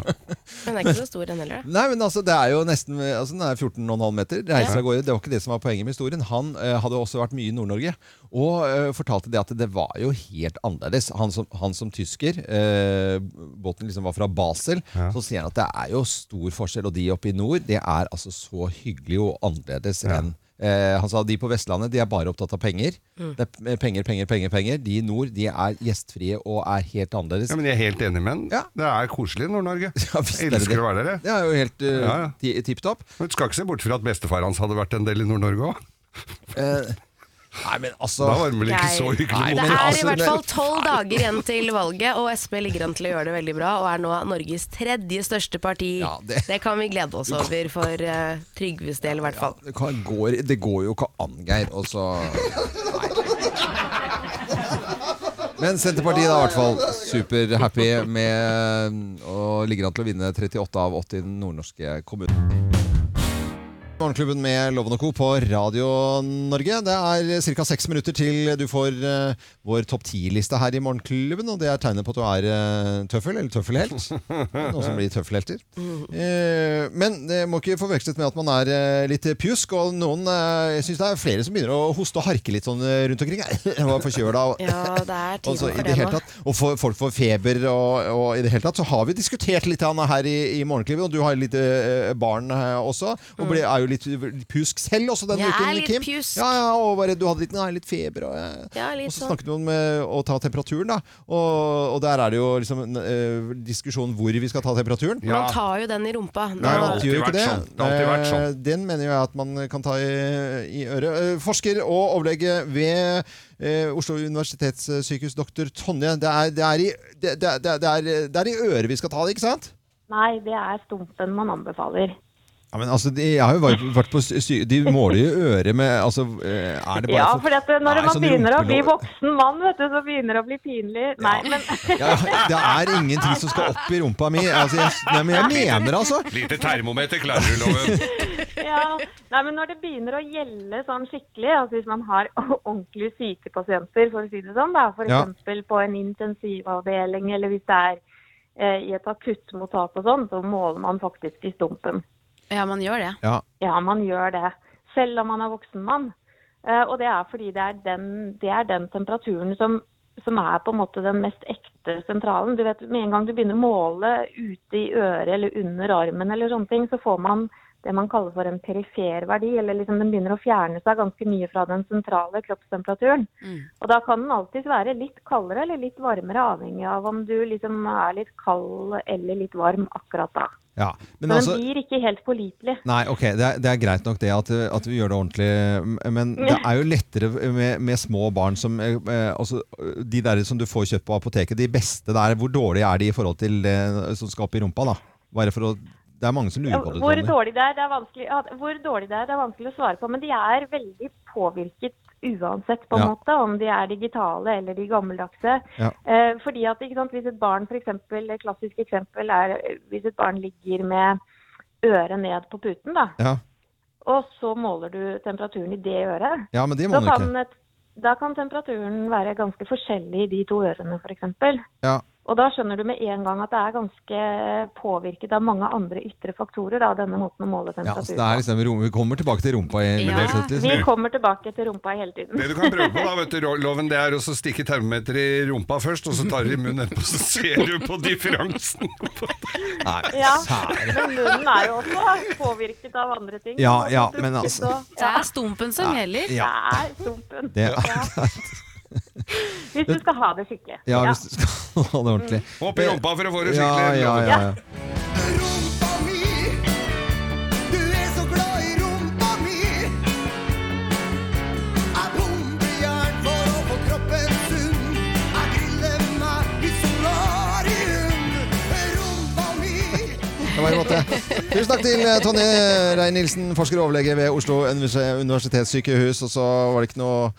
Den er ikke så stor den heller, da.
Nei, men altså, det er jo nesten altså, Den er 14,5 meter. Reiser av gårde. Det var ikke det som var poenget med historien. Han eh, hadde også vært mye i Nord-Norge og eh, fortalte det at det var jo helt annerledes. Han som, han som tysker, eh, båten liksom var fra Basel, så sier han at det er jo stor forskjell. Og de oppe i nord, det er altså så hyggelig og annerledes enn Eh, han sa de på Vestlandet de er bare opptatt av penger.
Mm.
Det er p- penger, penger, penger. penger De i nord de er gjestfrie og er helt annerledes.
ja, men jeg er helt enig med han.
Ja.
Det er koselig i Nord-Norge.
[LAUGHS] Ja, visst er det det.
Elsker å være der, jeg.
Det er jo helt eh,
Ja, ja.
ti- tipp topp.
Men du skal ikke se bort fra at bestefar hans hadde vært en del i Nord-Norge òg.
Eh, nei, men altså
Da var det vel ikke
Nei.
så
Nei,
hyggelig.
Det
men
mot-
er i
altså,
hvert
det-
fall tolv dager igjen til valget, og Sp ligger an til å gjøre det veldig bra, og er nå Norges tredje største parti.
Ja, det-
Det kan vi glede oss over for eh, Trygves del, i hvert fall.
Det kan- går, det går jo ikke an, Geir. Og så Nei. Men Senterpartiet er i hvert fall superhappy eh, med og ligger an til å vinne 38 av 80 nordnorske kommuner. Morgenklubben med Loven og Co. på Radio Norge. Det er ca. seks minutter til du får eh, vår topp ti-liste her i Morgenklubben. Og det er tegnet på at du er eh, tøffel, eller tøffelhelt. Noen som blir tøffelhelter. Eh, men det må ikke forveksles med at man er eh, litt pjusk. Og noen, eh, jeg syns det er flere som begynner å hoste og harke litt sånn eh, rundt omkring. [LAUGHS] Jeg var forkjøla. og-
Ja, det er tiden
Altså, i
for
det
det
hele
nå.
tatt, og for, folk får feber og, og i det hele tatt, så har vi diskutert litt Anna, her i, i Morgenklubben, og du har litt eh, barn eh, også, og ble, er jo litt pjusk selv også denne
Mm. Jeg
uken,
er litt
Kim.
pjusk.
Ja, ja, og bare, du hadde litt, nei, litt feber, og, eh,
Ja, litt
og så
sånn.
snakket du om eh, å ta temperaturen, da, og, og der er det jo liksom en eh, diskusjon hvor vi skal ta temperaturen.
Ja.
Man tar jo den i rumpa.
Nei,
det har
man
alltid
gjør jo ikke
vært
det.
sånn. Det har alltid vært sånn.
Eh, Den mener jeg at man kan ta i, i øret. Eh, Forsker og overlege ved eh, Oslo universitetssykehus, doktor Tonje. Det er, det, er i, det, det, det det er, det er i øret vi skal ta det, ikke sant?
Nei, det er stumpen man anbefaler.
Ja, men altså, de, jeg har jo vært, vært på sy De måler jo øret med altså, eh, Er det bare
Ja,
for-
for at eh, når
Nei,
man
sånn
begynner å bli
rumpelår-
voksen mann, vet du, så begynner det å bli pinlig. Nei, men [LAUGHS]
ja, Det er ingenting som skal opp i rumpa mi. Altså, jeg, nei, men
[LAUGHS]
jeg mener det, altså.
Lite termometer klarer du, Loven.
Ja, nei, men når det begynner å gjelde sånn skikkelig, altså hvis man har [LAUGHS] ordentlig syke pasienter, for å si det sånn, da, for
Ja.
eksempel på en intensivavdeling, eller hvis det er eh, i et akuttmottak og sånn, så måler man faktisk i stumpen.
Ja, man gjør det.
Ja.
Ja, man gjør det, selv om man er voksen mann. Eh, og det er fordi det er den, det er den temperaturen som, som er på en måte den mest ekte sentralen. Du vet, Med en gang du begynner å måle ute i øret eller under armen, eller sånne ting, så får man det man kaller for en perifer verdi. eller liksom Den begynner å fjerne seg ganske mye fra den sentrale kroppstemperaturen.
Mm.
Og da kan den alltids være litt kaldere eller litt varmere, avhengig av om du liksom er litt kald eller litt varm akkurat da.
ja. Men
Men
altså
den blir ikke helt pålitelig.
Nei, ok, det er, det er greit nok det at, at vi gjør det ordentlig, men det er jo lettere med, med små barn som eh, eh, altså, De der som du får kjøpt på apoteket, de beste der, hvor dårlige er de i forhold til det som skal opp i rumpa, da? Bare for å Det er mange som lurer på det.
Hvor
Tony.
dårlig det er, det er vanskelig, ja, hvor dårlig det er, det er vanskelig å svare på. Men de er veldig påvirket uansett, på en
Ja.
måte, om de er digitale eller de gammeldagse.
Ja.
Eh, fordi at ikke sant, hvis et barn, for eksempel, et klassisk eksempel er eh, hvis et barn ligger med øret ned på puten, da,
Ja.
og så måler du temperaturen i det øret,
ja, men det må man
da kan,
ikke.
et, da kan temperaturen være ganske forskjellig i de to ørene, f.eks.
Ja.
Og da skjønner du med en gang at det er ganske påvirket av mange andre ytre faktorer, da, denne måten å måle
Ja, altså,
temperatur
det
på.
er liksom, rom- vi kommer tilbake til rumpa i
Ja.
ja.
Vi kommer tilbake til rumpa hele tiden.
Det du kan prøve på, da, vet du, Loven, det er å så stikke termometer i rumpa først, og så tar du i munnen etterpå, så ser du på differansen.
Nei,
[LAUGHS] Ja,
sære.
men munnen er jo også påvirket av andre ting.
Ja,
Så
ja,
du
men
ikke
altså-
så-
Det er stumpen som gjelder.
Ja.
Det er stumpen.
Det,
Ja. Hvis du skal ha det skikkelig.
ja, hvis du skal ha det ordentlig.
Mm.
Opp i rumpa for å få det
Ja,
skikkelig.
ja, ja, ja.
Rumpa mi, du er så glad i rumpa mi. Jeg pumper jern for å få kroppen sunn. Jeg griller meg i solarium. Rumpa mi.
Det var en måte. Tusen takk til eh, Tonje Rein-Nilsen, forsker og overlege ved Oslo Univers- universitetssykehus. Og så var det ikke noe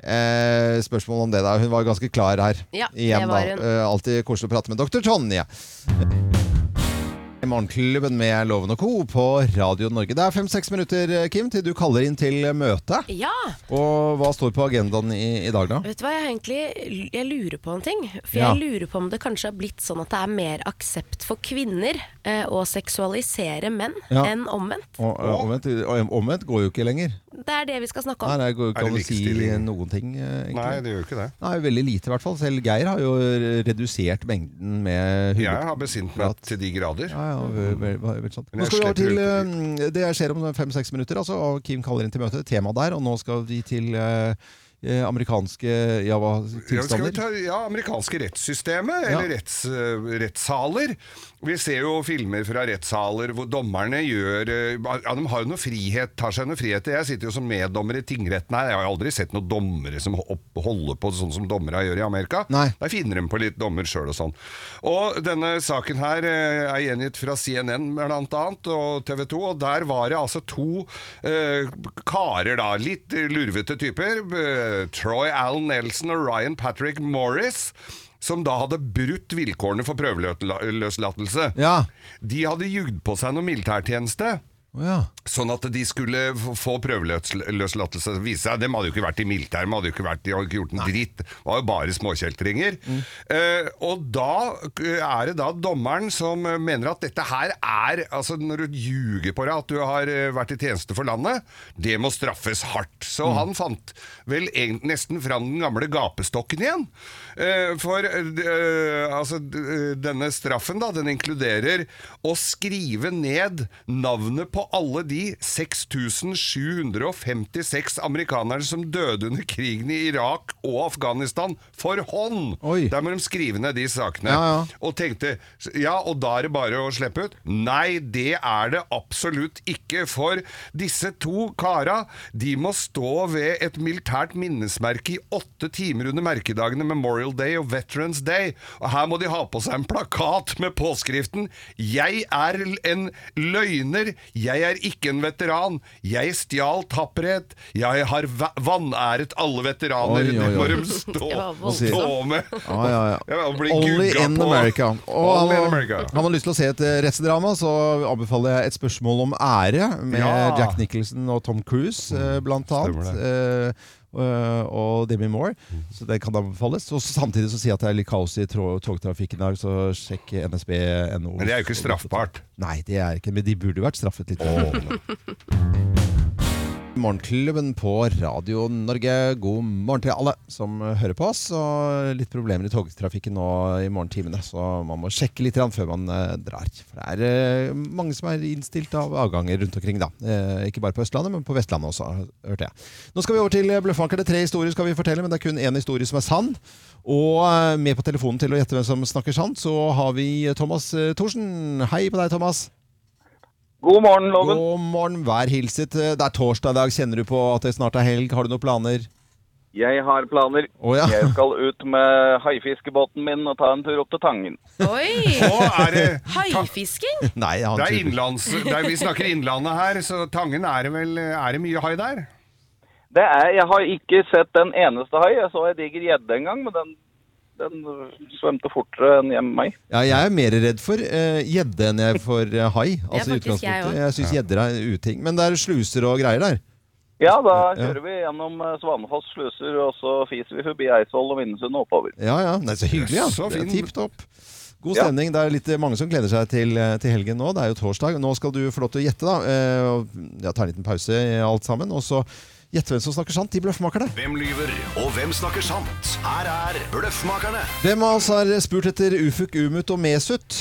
eh, spørsmål om det. der. Hun var ganske klar her.
Ja, det
Igjen,
var
da.
hun.
Eh, alltid koselig å prate med doktor Tonje. I Morgenklubben med Loven og Co. på Radio Norge. Det er fem-seks minutter, eh, Kim, til du kaller inn til møte.
Ja,
Og hva står på agendaen i, i dag, da?
vet du hva, jeg egentlig jeg lurer på en ting. For
Ja.
jeg lurer på om det kanskje har blitt sånn at det er mer aksept for kvinner eh, å seksualisere menn
Ja.
enn omvendt.
Og, eh, omvendt, omvendt går jo ikke lenger.
Det er det vi skal snakke
Nei,
om.
det går jo
Er
ikke an
det
å si
likestilling?
noen ting. eh, egentlig.
Nei, det gjør jo ikke det.
Nei, veldig lite i hvert fall. Selv Geir har jo redusert mengden med hud.
Jeg har besint meg til de grader.
Ja, ja, ve- ve- ve- veldig sant.
Men
Nå
jeg
skal vi over til
slipper
eh, det jeg ser om fem-seks minutter, altså, og Kim kaller inn til møte, tema der, og nå skal vi til eh, eh, amerikanske
Ja, skal vi
Java-tilstander.
ta, ja, amerikanske rettssystemet, eller
Ja.
retts, eh, rettssaler. Vi ser jo filmer fra rettssaler hvor dommerne gjør eh, ja, De har jo noe frihet, tar seg noe frihet. Jeg sitter jo som meddommer i tingretten her. Jeg har jo aldri sett noen dommere som opp- holder på sånn som dommere gjør i Amerika.
Nei.
Der finner de på litt dommer sjøl og sånn. Og denne saken her eh, er gjengitt fra CNN blant annet, og TV 2, og der var det altså to eh, karer, da, litt lurvete typer, eh, Troy Allen Nelson og Ryan Patrick Morris, som da hadde brutt vilkårene for prøveløslatelse.
Ja.
De hadde jugd på seg noe militærtjeneste.
Å ja.
Sånn at de skulle f- få prøveløslatelse. Det viste seg, Dem hadde jo ikke vært i militæret, hadde jo ikke vært, de hadde ikke gjort en dritt. Det var jo bare småkjeltringer. Eh, og da eh, er det da dommeren som eh, mener at dette her er Altså, når du ljuger på deg at du har eh, vært i tjeneste for landet, det må straffes hardt. Så han fant vel egent- nesten fram den gamle gapestokken igjen. Eh, for eh, d- eh, altså, d- eh, denne straffen, da, den inkluderer å skrive ned navnet på alle de 6756 amerikanerne som døde under krigen i Irak og Afghanistan, for hånd!
Oi.
Der må de skrive ned de sakene.
Ja, ja.
Og tenkte ja, og da er det bare å slippe ut? Nei, det er det absolutt ikke. For disse to kara, de må stå ved et militært minnesmerke i åtte timer under merkedagene Memorial Day og Veterans Day. Og her må de ha på seg en plakat med påskriften 'Jeg er l- en løgner. Jeg er ikke en veteran. Jeg stjal tapperhet. Jeg har va- vanæret alle
Oi,
veteraner.'
oi,
Det må
oi.
de stå,
Det var voldsomt.
stå med.
Ja, ja, ja.
Ja, og bli
Only
gugga
in
på.
America. Og
Only in
han,
America.
han har lyst til å se et eh, rettsdrama, så anbefaler jeg et spørsmål om ære med
Ja. Mm.
Jack Nicholson og Tom Cruise, eh, blant
stemmer Mm.
annet. eh, og- og Demi Moore. Så det kan anbefales. Og samtidig så sier jeg at det er litt kaos i tro- togtrafikken i dag, så sjekk nsb.no.
Men det er jo ikke
[LAUGHS]
straffbart.
Nei, det er ikke Men de burde jo vært straffet litt. Morgenklubben på Radio Norge. God morgen til alle som hører på oss. Og litt problemer i togtrafikken nå i morgentimene, så man må sjekke litt grann før man eh, drar. For det er eh, mange som er innstilt av avganger rundt omkring, da. Eh, ikke bare på Østlandet, men på Vestlandet også, hørte jeg. Nå skal vi over til eh, Bløffmakerne. Det er Tre historier skal vi fortelle, men det er kun én historie som er sann. Og eh, med på telefonen til å gjette hvem som snakker sant, så har vi Thomas eh, Thorsen. Hei på deg, Thomas.
God morgen, Loven.
God morgen, vær hilset. Det er torsdag i dag. Kjenner du på at det snart er helg? Har du noen planer? [LAUGHS]
Jeg har planer.
Å ja.
Jeg skal ut med haifiskebåten min og ta en tur opp til Tangen.
[LAUGHS]
Oi!
Nå er det
Haifisking?
Nei, jeg har en
det er
tur.
innlands, det er, vi snakker innlandet her, så Tangen er det vel er det mye hai der?
Det er, jeg har ikke sett en eneste hai. Jeg så ei diger gjedde en gang, men den, den svømte fortere enn hjemme meg.
Ja, jeg er mer redd for eh, gjedde enn jeg er for eh,
[LAUGHS]
hai. Altså, i
faktisk jeg
utgangspunktet.
også.
Jeg syns gjedder er en uting. Men det er sluser og greier der.
Ja, da
Ja.
kjører vi gjennom eh, Svanefoss sluser, og så fiser vi forbi Eidsvoll og Minnesund og oppover.
Ja, ja. Nei, så hyggelig, ja.
Så
Det er
fin.
Tipp topp. God
Ja.
stemning. Det er litt eh, mange som gleder seg til, eh, til helgen nå. Det er jo torsdag. Nå skal du få lov til å gjette, da. Eh, og, Ja, ta en liten pause i alt sammen. Og så gjette hvem som snakker sant. De bløffmakerne.
Hvem lyver, og hvem snakker sant? Her er Bløffmakerne.
Hvem av oss har spurt etter Ufuk, Umut og Mesut?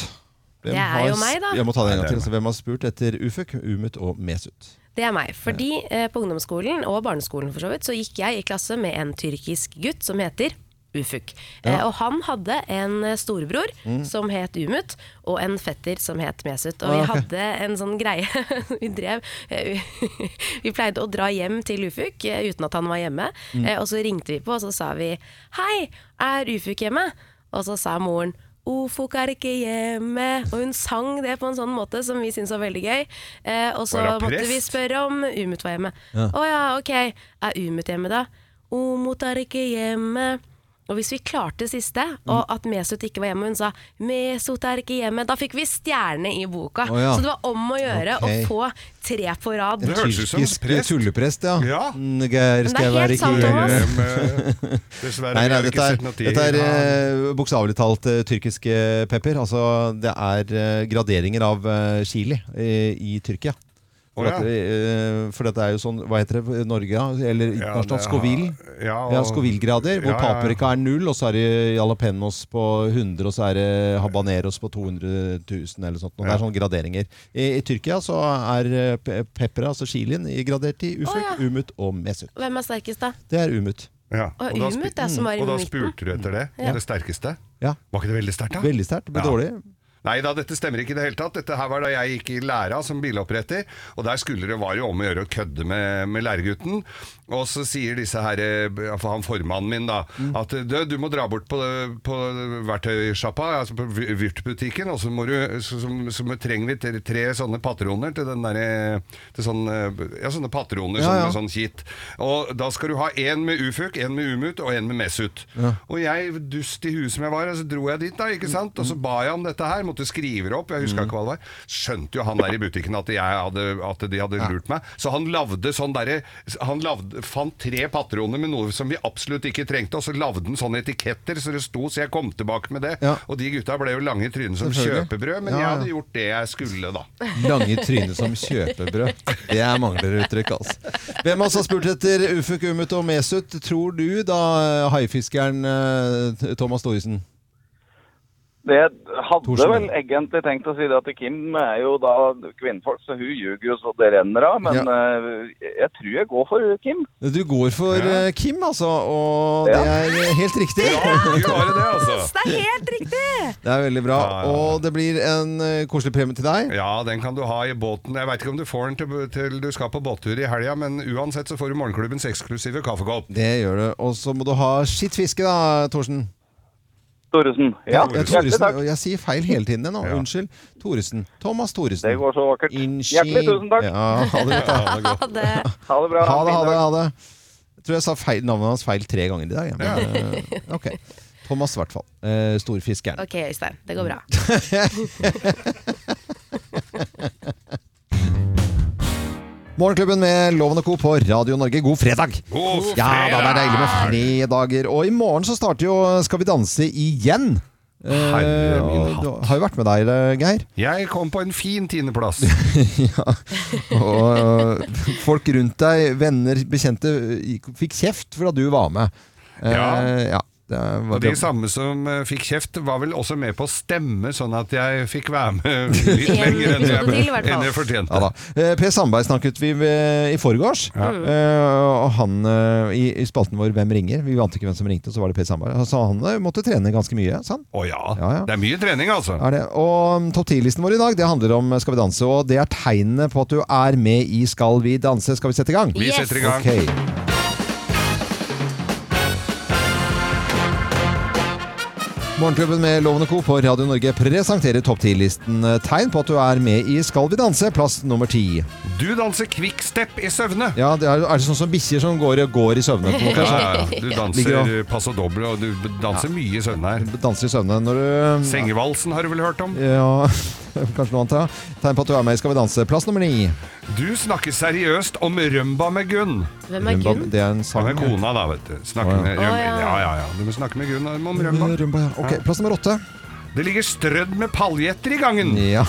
Hvem
Det er
har-
jo meg, da.
Jeg må ta det en gang
Nei, det er
til. Så hvem har spurt etter Ufuk, Umut og Mesut?
Det er meg. Fordi eh, på ungdomsskolen og barneskolen for så vidt, så gikk jeg i klasse med en tyrkisk gutt som heter Ufuk. Eh, og han hadde en eh, storebror
Mm.
som het Umut, og en fetter som het Mesut. Og
Ah,
vi
ok.
hadde en sånn greie [LAUGHS] Vi drev eh, [LAUGHS] vi- Vi pleide å dra hjem til Ufuk eh, uten at han var hjemme.
Mm.
Eh, og så ringte vi på, og så sa vi 'Hei, er Ufuk hjemme?' Og så sa moren Ufuk er ikke hjemme. Og hun sang det på en sånn måte som vi syntes var veldig gøy. Eh, og så
Var det
måtte
prest?
vi spørre om Umut var hjemme. Å ja. ok. Er Umut hjemme da? Umut er ikke hjemme. Og hvis vi klarte det siste, og
Mm.
at Mesut ikke var hjemme, hun sa 'Mesut er ikke hjemme', da fikk vi stjerne i boka.
Å ja.
Så det var om å gjøre
Ok.
å få tre på rad.
Det høres ut som
Tyrkisk
prest.
tulleprest, ja.
Ja.
Mm, Geir,
Men det
skal jeg
er
være
helt sant,
ikke-
Thomas.
Em, eh, [LAUGHS] Dessverre,
Nei,
vi
nei,
har
dette
ikke
er,
sett noe tid.
dette er eh, bokstavelig talt eh, tyrkiske pepper. Altså, det er eh, graderinger av eh, chili eh, i Tyrkia. For,
Å, ja.
at, eh, for dette er jo sånn, hva heter det, Norge, ja? eller
Ja,
internasjonalt,
det har-
Scoville?
Ja,
Ja,
og-
Scoville-grader, hvor
Ja, ja, ja.
paprika er null, og så er det jalapeños på 100, og så er det habaneros på 200 000 eller sånt. Og det er sånne graderinger. I, i Tyrkia så er eh, pe- pepper, altså chilien, i- gradert i ufuk,
Å, ja.
umut og mesut.
Hvem er sterkest da?
Det er umut.
Ja,
Og,
da
Umut,
spu-
det som var i
og da
midten.
spurte du etter det? Det sterkeste?
Ja.
Var ikke det veldig sterkt, da?
Veldig sterkt, men
Ja.
dårlig.
Nei da, dette stemmer ikke i det hele tatt. Dette her var da jeg gikk i læra som biloppretter, og der skulle det var jo om å gjøre å kødde med, med læregutten. Og så sier disse her, eh, for han formannen min da,
Mm.
at eh, du, du må dra bort på, på verktøysjappa, altså på vir- Vyrt-butikken, og så må du, så, så, så må- trenger vi tre, tre sånne patroner til den derre Til sånne, ja, sånne patroner
Ja,
sånn-
ja.
med sånn kit. Og da skal du ha én med ufuk, én med umut
Mm.
altså, og én med messut. Og jeg, dust i huet som jeg var, så dro jeg dit, da, ikke sant? Og så ba jeg om dette her. måtte skrive det opp. Jeg husker ikke hva det var. Skjønte jo han der i butikken at, jeg hadde, at de hadde lurt meg. Så han lavde sånn derre Han lavde, fant tre patroner med noe som vi absolutt ikke trengte, og så lavde han sånne etiketter så det sto, så jeg kom tilbake med det. Og de gutta ble jo lange i trynet som
Selvfølgelig.
kjøpebrød, men
Ja,
jeg
ja.
hadde gjort det jeg
[LAUGHS]
skulle, da.
Lange i trynet som kjøpebrød. Det er mangleruttrykk, altså. Hvem av oss har spurt etter Ufuk Umut og Mesut, tror du da, haifiskeren eh, Thomas Thoresen?
Det hadde
Thorsen,
vel egentlig tenkt å si det at Kim er jo da kvinnfolk, så hun ljuger jo så det renner av. Men eh, jeg tror jeg går for Kim.
Du går for eh, Kim, altså, og det er eh, helt riktig.
altså.
Det er helt riktig!
[LAUGHS] Det er veldig bra. Og det blir en eh, koselig premie til deg.
Ja, den kan du ha i båten. Jeg veit ikke om du får den til, til du skal på båttur i helga, men uansett så får du morgenklubbens eksklusive kaffekopp.
Det gjør du. Og så må du ha skitt fiske, da, Thorsen.
Thoresen.
Ja,
Thoresen. Hjertelig
Thoresen.
takk.
Og Jeg sier feil hele tiden jeg nå. Unnskyld. Thoresen. Thomas Thoresen.
Det går så vakkert. Hjertelig tusen takk.
Ja, ha det godt. da.
[LAUGHS] Ha det. Ha det bra.
Ha det, ha
Fin
det.
dag.
ha det. Jeg tror jeg sa feil, navnet hans feil tre ganger i dag. jeg, Men, eh, ok. Thomas, i hvert fall. Eh, Storfiskeren.
Ok, Øystein. Det går bra.
Morgenklubben med Loven og Co. på Radio Norge, god fredag!
God
Ja, da, det er deilig med fredager. Og i morgen så starter jo Skal vi danse igjen. Eh,
Herre min
og du har jo vært med deg, eh,
[LAUGHS]
Geir.
Jeg kom på en fin tiendeplass.
Og eh, folk rundt deg, venner, bekjente, eh, fikk kjeft for at du var med. Eh,
Ja.
ja det var
Og de samme som eh, fikk kjeft, var vel også med på å stemme, sånn at jeg fikk
[LAUGHS]
være med litt
En
lenger enn
episode
jeg,
til, i hvert fall.
enn jeg fortjente.
Ja da. Eh, Per Sandberg snakket vi med i forgårs.
Ja.
Eh, Og han eh, i, i spalten vår Hvem ringer? Vi ante ikke hvem som ringte, og så var det Per Sandberg. Så han eh, måtte trene ganske mye, sa han.
Å ja. Det er mye trening, altså.
Er det. Og mm, topp 10-listen vår i dag det handler om Skal vi danse, og det er tegnene på at du er med i Skal vi danse. Skal vi sette i gang?
Vi Yes. setter i gang.
Ok. Morgenklubben med Lovende Co. på Radio Norge presenterer topp 10-listen tegn på at du er med i Skal vi danse, plass nummer ti.
Du danser quickstep i søvne.
Ja, det er, er det sånn som bikkjer som går, går i søvne? på,
Ja,
kanskje?
ja. Du
Ligger og-
danser passo doble, og du danser mye i
[LAUGHS]
søvne her.
Danser i søvne når du um,
Sengevalsen har du vel hørt om?
Ja, [LAUGHS] kanskje noe annet, ja. Tegn på at du er med i Skal vi danse, plass nummer ni.
Du snakker seriøst om Rømba med Gunn.
Hvem
er Rømba- Gunn? det er en sang.
Han er kona, da, vet du. Snakker
Å, ja.
med Rømba.
Å, ja.
Ja, ja, ja. Du må snakke med Gunn om Rømba.
Mm, Rømba, ja. Ok, plass nummer åtte.
Det ligger strødd med paljetter i gangen.
Ja.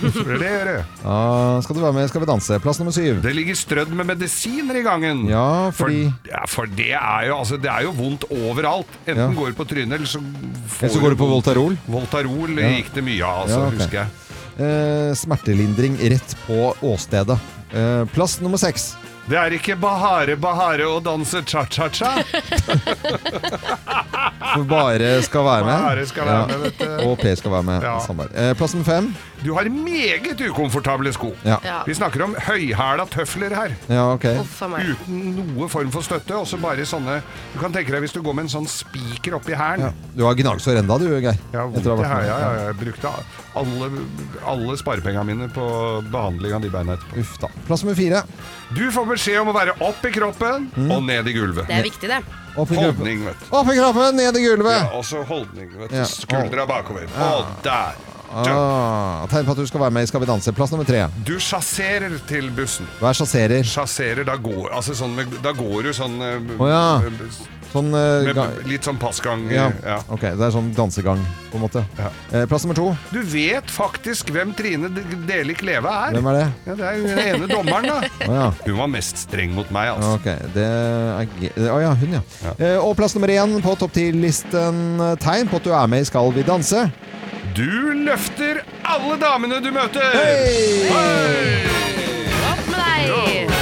Hvorfor det gjør det?
Ja, skal du være med i Skal vi danse, plass nummer syv.
Det ligger strødd med medisiner i gangen.
Ja, fordi-
For, ja, for det, er jo, altså, det er jo vondt overalt. Enten
Ja.
går du på trynet, eller så får
Eller så går du på Voltarol.
Voltarol
Ja.
gikk det mye av, altså,
Ja, ok.
husker jeg.
Eh, smertelindring rett på åstedet. Eh, plass nummer seks.
Det er ikke bahare, bahare å danse cha-cha-cha.
Hvor bare skal være med.
Bare skal være med, vet du.
Og Per skal være med.
Ja.
Sandberg. Eh, plass nummer fem.
Du har meget ukomfortable sko.
Ja. Ja.
Vi snakker om høyhæla tøfler her.
Ja, ok.
Uten noe form for støtte. Og så bare sånne Du kan tenke deg hvis du går med en sånn spiker oppi hælen.
Du har gnagsår enda, du, Geir.
Ja, vondt
Etter å ha
i
vært med.
hæla. Ja, ja, jeg brukte alle, alle sparepengene mine på behandling av de beina etterpå.
Uff da. Plass nummer fire.
Du får beskjed om å være opp i kroppen
Mm.
og ned i gulvet.
Det er viktig, det.
Opp i kroppen.
Holdning, vet du.
Opp i kroppen, ned i gulvet!
Ja, også holdning. vet du.
Ja.
Skuldra bakover. Og der.
Ah, tegn på at du skal være med i Skal vi danse. Plass nummer tre.
Du sjasserer til bussen.
Vær sjasserer.
Sjasserer, da går, altså sånn med, da går du sånn eh,
Å ja.
eh,
Sånn eh,
Med
ga
litt sånn passgang.
ja.
Ja.
Ok, det er sånn dansegang, på en måte. Eh, plass nummer to.
Du vet faktisk hvem Trine D- Delik Leve er.
Hvem er det?
Ja, det er jo den ene dommeren, da.
Å ja.
[LAUGHS] Hun var mest streng mot meg, altså.
Ok, det er ge- Å ja, hun, ja. Eh, og plass nummer én på topp ti-listen. eh, Tegn på at du er med i Skal vi danse.
Du løfter alle damene du møter!
Opp med deg!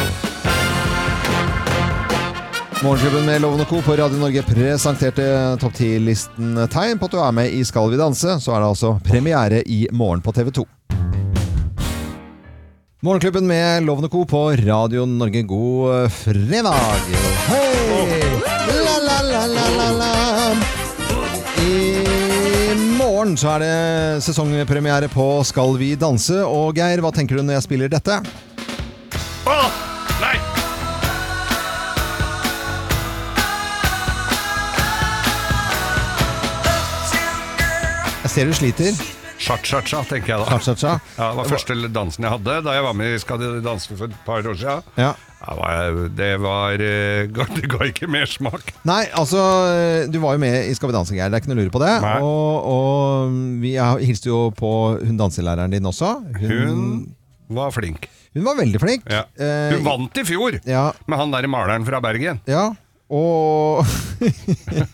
Morgenklubben med Loven og Co. på Radio Norge presenterte topp 10-listen tegn på at du er med i Skal vi danse. Så er det altså premiere i morgen på TV 2. Morgenklubben med Loven og Co. på Radio Norge, god fredag! Hei! La, la, la, la, la, la. I morgen så er det sesongpremiere på Skal vi danse. Og Geir, hva tenker du når jeg spiller dette?
Åh, nei!
Jeg ser du sliter.
Cha-cha-cha, tenker jeg da.
Cha-cha-cha.
Ja, det var første dansen jeg hadde da jeg var med i Skal de danse for et par år siden.
Ja.
Ja, hva- det var eh, [LAUGHS] ga- Det ga ikke mersmak.
Nei, altså, du var jo med i Skal vi danse, Geir. Det er ikke noe å lure på det.
Nei.
Og, og vi er- hilste jo på hun danselæreren din også.
Hun var flink.
Hun var veldig flink.
Ja.
Eh,
Hun vant i fjor med han derre maleren fra Bergen.
Ja, og [LAUGHS]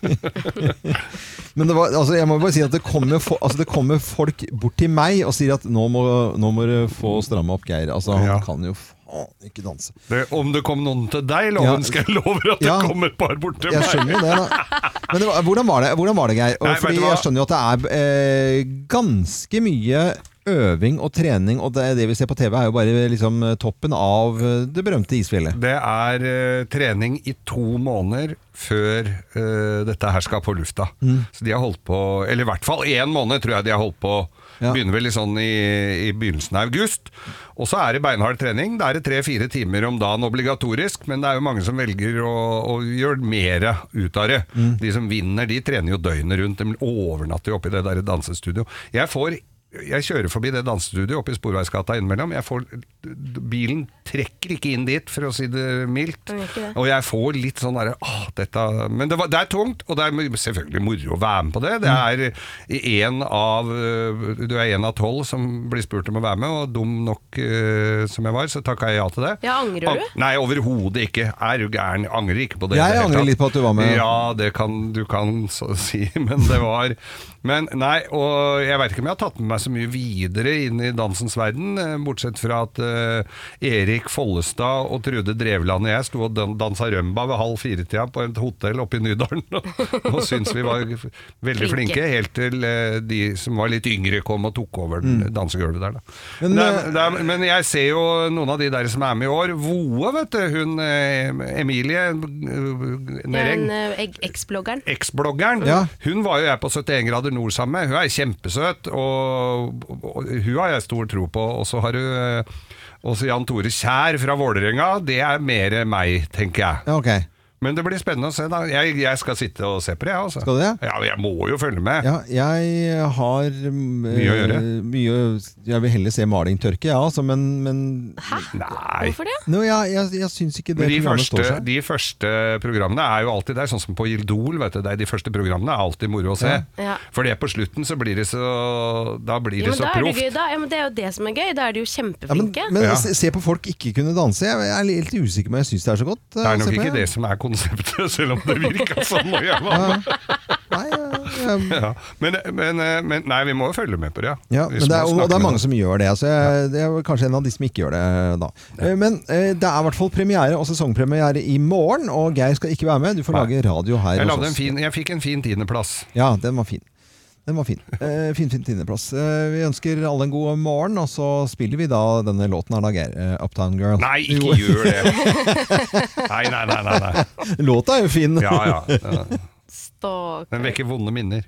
Men det var, altså, jeg må bare si at det kommer, fo altså, det kommer folk bort til meg og sier at nå må, nå må du få stramme opp Geir. Altså, han kan jo faen ikke danse.
Det, om det kom noen til deg, loven,
Ja.
skal jeg love at
Ja.
det kom et par bort til
Jeg
meg.
skjønner jo det, da. Men det var, hvordan, var det, hvordan var det, Geir? Og,
Nei, vet
fordi
du hva?
jeg skjønner jo at det er eh, ganske mye øving og trening, og det, det vi ser på TV er jo bare liksom, toppen av eh, det berømte isfjellet.
Det er eh, trening i to måneder før eh, dette her skal på lufta.
Mm.
Så de har holdt på, eller i hvert fall én måned tror jeg de har holdt på. Begynner vel i sånn i, i begynnelsen av august. Og så er det beinhard trening. Da er det tre-fire timer om dagen obligatorisk, men det er jo mange som velger å, å gjøre mer ut av det. De som vinner, de trener jo døgnet rundt. De overnatter jo oppi det der dansestudio. Jeg får jeg kjører forbi det dansestudioet oppe i Sporveisgata innimellom. Jeg får, bilen trekker ikke inn dit, for å si det mildt.
Den gjør ikke det.
Og jeg får litt sånn derre «Åh, dette Men det, var, det er tungt, og det er selvfølgelig moro å være med på det. Det
Mm.
er en av øh, Du er en av tolv som blir spurt om å være med, og dum nok øh, som jeg var, så takka jeg ja til det.
Ja, angrer du?
Ang- Nei, overhodet ikke. Er du gæren? Jeg Angrer ikke på det. i
Jeg
det hele
angrer
tatt.
litt på at du var med.
Ja, det kan du kan så si, [LAUGHS] men det var Men nei, og jeg veit ikke om jeg har tatt med meg så mye videre inn i dansens verden, eh, bortsett fra at eh, Erik Follestad og Trude Drevland og jeg sto og dan- dansa rømba ved halv fire-tida på et hotell oppe i Nydalen, [LAUGHS] og, og syntes vi var f- veldig
Flinke.
flinke, helt til eh, de som var litt yngre kom og tok over den dansegulvet der, da.
Mm. Men,
Nei,
eh,
det er, men jeg ser jo noen av de der som er med i år. Voe, vet du. Hun eh, Emilie eh, Nereng.
Den eh, egg- eks-bloggeren.
Eks-bloggeren. Hun var jo jeg på 71 grader nord sammen med. Hun er kjempesøt, og, og, og hun har jeg stor tro på. Og så har du eh, også Jan Tore Kjær fra Vålerenga. Det er mer meg, tenker jeg.
Ja, ok.
Men det blir spennende å se. da Jeg, jeg skal sitte og se på det, jeg. Altså.
Skal du det?
Ja, jeg må jo følge med.
Ja, jeg har Mye
Mye å gjøre.
Mye, jeg vil heller se maling tørke, jeg, ja, altså, men, men
Hæ?
Nei.
Hvorfor det?
Nå, jeg, jeg, jeg syns ikke det
Men de
programmet
første,
står seg.
de første programmene er jo alltid der, sånn som på Idol. Vet du, det er de første programmene er alltid moro å se.
Ja. Ja.
For det på slutten så blir det så Da blir
Ja,
det
men,
så
da er det,
proft.
gøy, da, ja, men det er jo det som er gøy. Da er de jo
Ja, men
kjempeflinke.
men se, se på folk ikke kunne danse. Jeg jeg er litt usikker, men jeg syns det er så godt. eh,
Det er nok ikke det som er konseptet, [LAUGHS] selv om det
[LAUGHS]
virka sånn når jeg var med. Ja. Men, men, eh, men Nei, vi må jo følge med på det.
Ja,
Vi
men det er, og det
må snakke
er
med
mange
dem.
som gjør det. Så jeg, det er vel kanskje en av de som ikke gjør det da. Eh, Men eh, det er i hvert fall premiere og sesongpremiere i morgen, og Geir skal ikke være med. Du får lage radio her
jeg,
hos
lagde en
oss.
fin, jeg fikk en fin tiendeplass.
Ja, den var fin. Den var fin. Eh, fin, fin tiendeplass. Eh, vi ønsker alle en god morgen, og så spiller vi da denne låten her, da, Geir. Eh, Uptown Girl.
Nei,
Jo.
ikke gjør det! Nei, nei, nei. nei, nei.
[LAUGHS] Låta er jo fin.
Ja, ja. Den-
Stalker.
Den vekker vonde minner.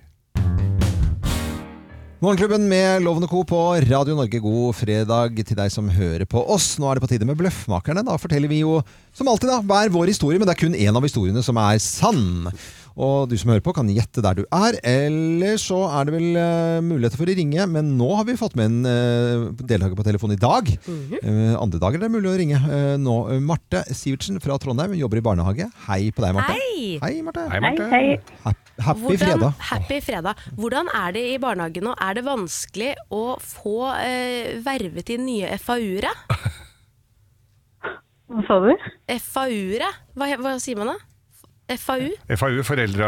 Morgenklubben med Loven og Co. på Radio Norge, god fredag til deg som hører på oss. Nå er det på tide med Bløffmakerne. Da forteller vi jo som alltid da, hver vår historie, men det er kun én av historiene som er sann. Og du som hører på, kan gjette der du er. Eller så er det vel eh, muligheter for å ringe, men nå har vi fått med en eh, deltaker på telefon i dag. Eh, andre dager er det mulig å ringe. Eh, nå, eh, Marte Sivertsen fra Trondheim, jobber i barnehage. Hei på deg, Marte.
Hei!
Hei, Marte.
Hei,
Marte. Hei, hei.
Happy fredag.
Happy fredag. Hvordan er det i barnehagen nå? Er det vanskelig å få eh, vervet inn nye FAU-ere?
Hva sa du?
FAU-ere? Hva, hva sier man da? FAU?
FAU, foreldre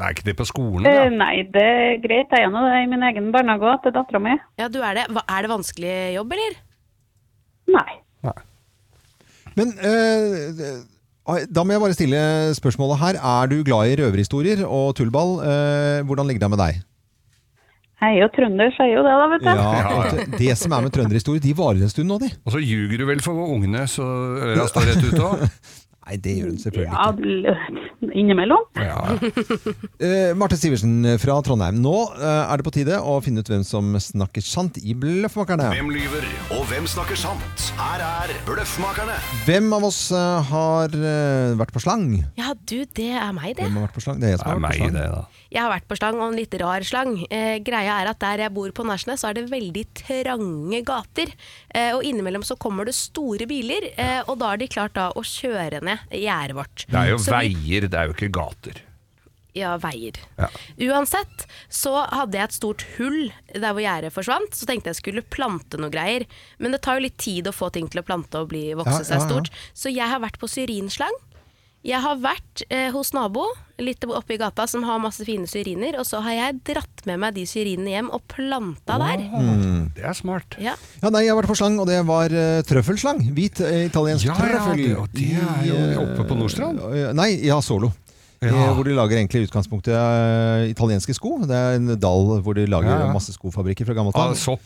Nei, ikke det på skolen?
Eh,
Da.
nei, det er greit. Jeg er nå det i min egen barnehage òg, til dattera mi.
Ja, du er det. Hva, er det vanskelig jobb, eller?
Men eh, da må jeg bare stille spørsmålet her. Er du glad i røverhistorier og tullball? Eh, hvordan ligger det an med deg?
Jeg er jo trønder, så jeg er jo det, da, vet du.
[LAUGHS] vet du, Det som er med trønderhistorier, de varer en stund nå, de. [LAUGHS]
Og så ljuger du vel for ungene, så øra står rett ut òg?
Nei, Nei, det gjør hun selvfølgelig
Ja,
ikke.
l- innimellom.
Eh, Marte Sivertsen fra Trondheim. Nå eh, er det på tide å finne ut hvem som snakker sant i Bløffmakerne.
Hvem lyver, og hvem snakker sant? Her er Bløffmakerne.
Hvem av oss eh, har eh, vært på slang?
Ja, du, det er meg, det.
Mm.
Hvem har vært på slang? Det er jeg som har vært på slang.
Jeg har vært på slang, og en litt rar slang. Eh, greia er at der jeg bor på Nærsnes, så er det veldig trange gater. Eh, og innimellom så kommer det store biler, eh, og da har de klart da å kjøre ned gjerdet vårt.
Det er jo
Så vi-
veier, det er jo ikke gater.
Ja, veier.
Ja.
Uansett så hadde jeg et stort hull der hvor gjerdet forsvant. Så tenkte jeg skulle plante noe greier. Men det tar jo litt tid å få ting til å plante og bli,
Ja,
vokse
ja,
seg
ja.
stort. Så jeg har vært på syrinslang. Jeg har vært eh, hos nabo litt oppe i gata som har masse fine syriner. Og så har jeg dratt med meg de syrinene hjem og planta der.
Mm.
Det er smart.
Ja.
Ja, nei, Jeg har vært på slang, og det var eh, trøffelslang. Hvit eh, italiensk
Ja, ja,
trøffel.
det- og det er
I,
jo
eh,
oppe på Nordstrand.
eh, Nei, ja, Solo. Eh, Hvor de lager egentlig i utgangspunktet eh, italienske sko. Det er en dal hvor de lager
Ja, ja.
masse skofabrikker fra gammelt
Ja,
av.
sopp.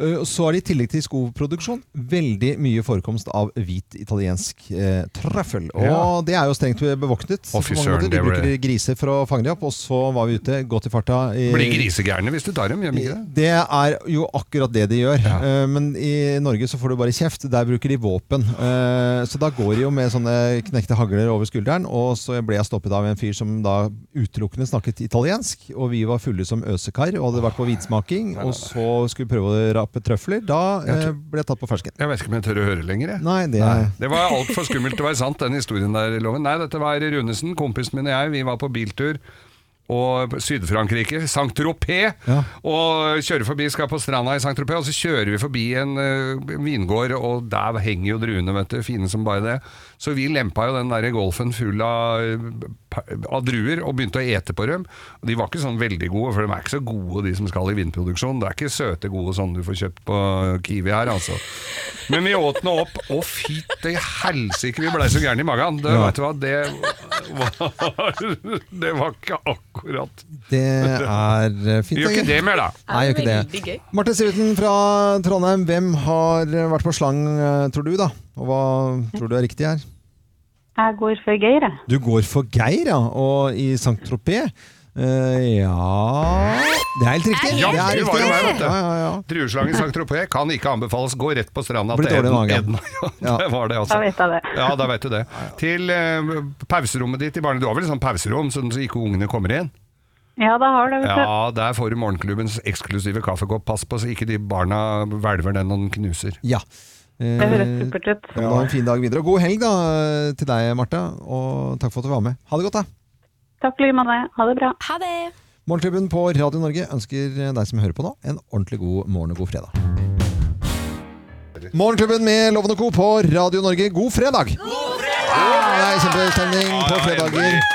Eh, og Så er det i tillegg til skoproduksjon veldig mye forekomst av hvit italiensk eh, trøffel. Og
Ja.
det er jo strengt bevoktet.
Å,
på
fy
mange
søren,
måter.
det
de
ble-
bruker griser for å fange dem opp, og så var vi ute godt i farta. i-
Blir grisegærne hvis du tar dem, gjør de ikke det?
det er jo akkurat det de gjør. Eh, Men i Norge så får du bare kjeft. Der bruker de våpen. Eh, Så da går de jo med sånne knekte hagler over skulderen. Og så ble jeg stoppet av en fyr som da utelukkende snakket italiensk. Og vi var fulle som øsekar og hadde vært på vinsmaking. Og så skulle vi prøve å rape trøfler. Da eh, ble jeg tatt på fersken.
Jeg vet ikke om jeg tør å høre lenger. Jeg.
Nei, det
Det var altfor skummelt til å være sant, den historien der, Loven. Nei, dette var Runesen, kompisen min og jeg. Vi var på biltur. Og Syd-Frankrike, Saint-Tropez. Og kjører forbi, skal på stranda i Saint-Tropez, og så kjører vi forbi en eh, vingård, og der henger jo druene, vet du. Fine som bare det. Så vi lempa jo den der golfen full av, eh, pa- av druer, og begynte å ete på dem. Og de var ikke sånn veldig gode, for de er ikke så gode, de som skal i vinproduksjon. Det er ikke søte, gode sånn du får kjøpt på Kiwi her, altså. Men vi åt nå opp. Å, fy til helsike, vi blei så gærne i magen. Det,
Ja.
vet du hva, det var, [LAUGHS] det var ikke akkurat
Det er eh, fint.
Vi gjør ikke det mer, da.
Nei, gjør ikke
Veldig
det.
gøy.
Marte Sivertsen fra Trondheim, hvem har vært på slang, eh, tror du, da? Og hva tror du er riktig her?
Jeg går for Geir, jeg.
Du går for Geir, ja. Og i Saint-Tropez eh, Ja Det er helt riktig.
Ja,
er
det var jo meg, vet du.
Ja, ja, ja.
Drueslang i Saint-Tropez kan ikke anbefales. Gå rett på stranda
Blir
til
dårlig i
Eden.
magen.
Eden. [LAUGHS] Ja, det var det, altså.
Da vet jeg det.
Ja, da vet du det. Til eh, pauserommet ditt i barnet. Du har vel sånn pauserom, sånn så ikke ungene kommer inn?
Ja, da har det, vet du.
Ja, der får du morgenklubbens eksklusive kaffekopp. Pass på så ikke de barna hvelver den og den knuser.
Ja. Eh,
Det høres supert ut.
Ja, men Ha en fin dag videre. Og god helg da til deg, Marte. Og takk for at du var med. Ha det godt, da.
Takk i like måte. Ha det bra.
Ha det!
Morgenklubben på Radio Norge ønsker deg som hører på nå, en ordentlig god morgen og god fredag. Morgenklubben med Loven og Co. på Radio Norge, god fredag! God fredag! Det er kjempestemning på fredager.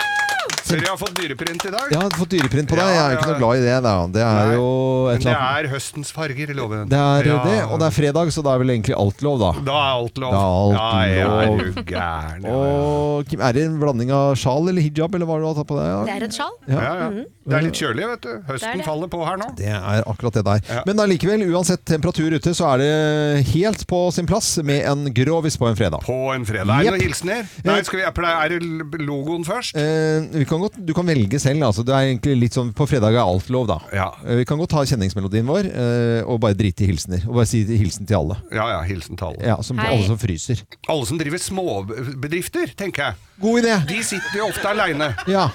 Ser jeg har fått dyreprint i dag.
Jeg har fått dyreprint på deg,
Ja,
jeg er ikke
ja.
noe glad i det. da. Det er jo et
Men det
eller annet
er høstens farger, loven.
Det er
Ja.
det, og det er fredag, så da er vel egentlig alt lov, da.
Da er alt lov.
Da er alt
ja,
lov.
Er du gæren?
Og Kim, er det en blanding av sjal eller hijab, eller hva du har tatt på deg?
Det er et sjal.
Ja.
Ja, ja. Det er litt kjølig, vet du.
Mm-hmm. Det er
Høsten
det.
faller på her nå.
Det er akkurat det der. Men allikevel, uansett temperatur ute, så er det helt på sin plass med en grovis på en fredag.
På en fredag. Er det noen
Jepp.
hilsener? Nei, skal vi, jeg pleier- er det logoen først?
Eh, vi kan godt, du kan velge selv. Altså, det er egentlig litt sånn, på fredag er alt lov, da. Eh, vi kan godt ta kjenningsmelodien vår eh, og bare drite i hilsener. Og bare si hilsen til alle.
Ja ja, hilsen til alle.
Ja, som, alle som fryser.
Alle som driver småbedrifter, tenker jeg.
God idé!
De sitter jo ofte aleine.
Ja.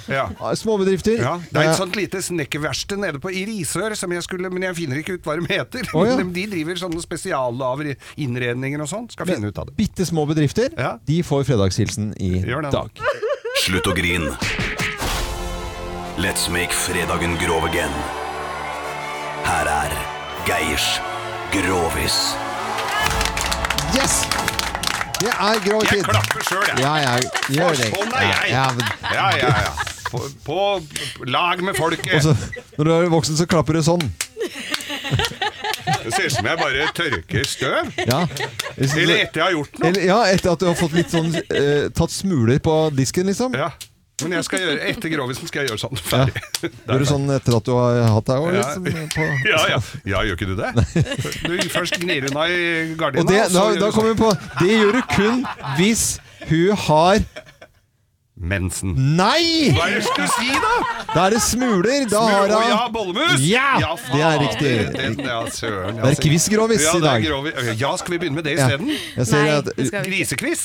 Småbedrifter.
Ja, det er sånn
Eh,
et sånt lite snekkerverksted nede på i Risør som jeg skulle Men jeg finner ikke ut hva de heter.
Å, ja.
Men De driver sånne spesiallaver, innredninger og sånn. Skal finne ut av det.
Bitte små bedrifter, de får fredagshilsen i
Gjør det.
dag.
Slutt å grin. Let's make fredagen grov again. Her er Geirs Grovis.
Yes! Det er grov tid.
Jeg klapper sjøl, jeg.
Ja, ja, gjør det.
sånn er jeg.
Ja, men-
Ja, ja, ja. På, på lag med folket.
Og så, altså, når du er voksen, så klapper du sånn.
Det ser ut som jeg bare tørker støv.
Ja.
Eller etter jeg har gjort noe.
Eller, ja, etter at du har fått litt sånn eh, Tatt smuler på disken, liksom.
Ja. Men jeg skal gjøre, etter grovisen skal jeg gjøre sånn. Ferdig.
Gjør du sånn etter at du har hatt deg over, liksom?
ja. [LAUGHS] ja, ja. ja, gjør ikke du det? Du først gnir unna i
Og
gardina,
det, da, da
og så gjør du sånn.
kommer vi på Det gjør du kun hvis hun har
sånn. mensen.
Nei!
Hva er det jeg skulle si, da?
Da er det smuler. Da
Smule-
har
Å, ja,
han
bollemus!
Ja!
faen.
Det er riktig.
Den, ja, søren,
Det er
altså.
quiz-grovis i
ja, det er
dag.
grovis. Ja, skal vi begynne med det
Ja.
isteden?
Jeg ser
Nei,
at,
det skal vi ikke.
Grisekviss?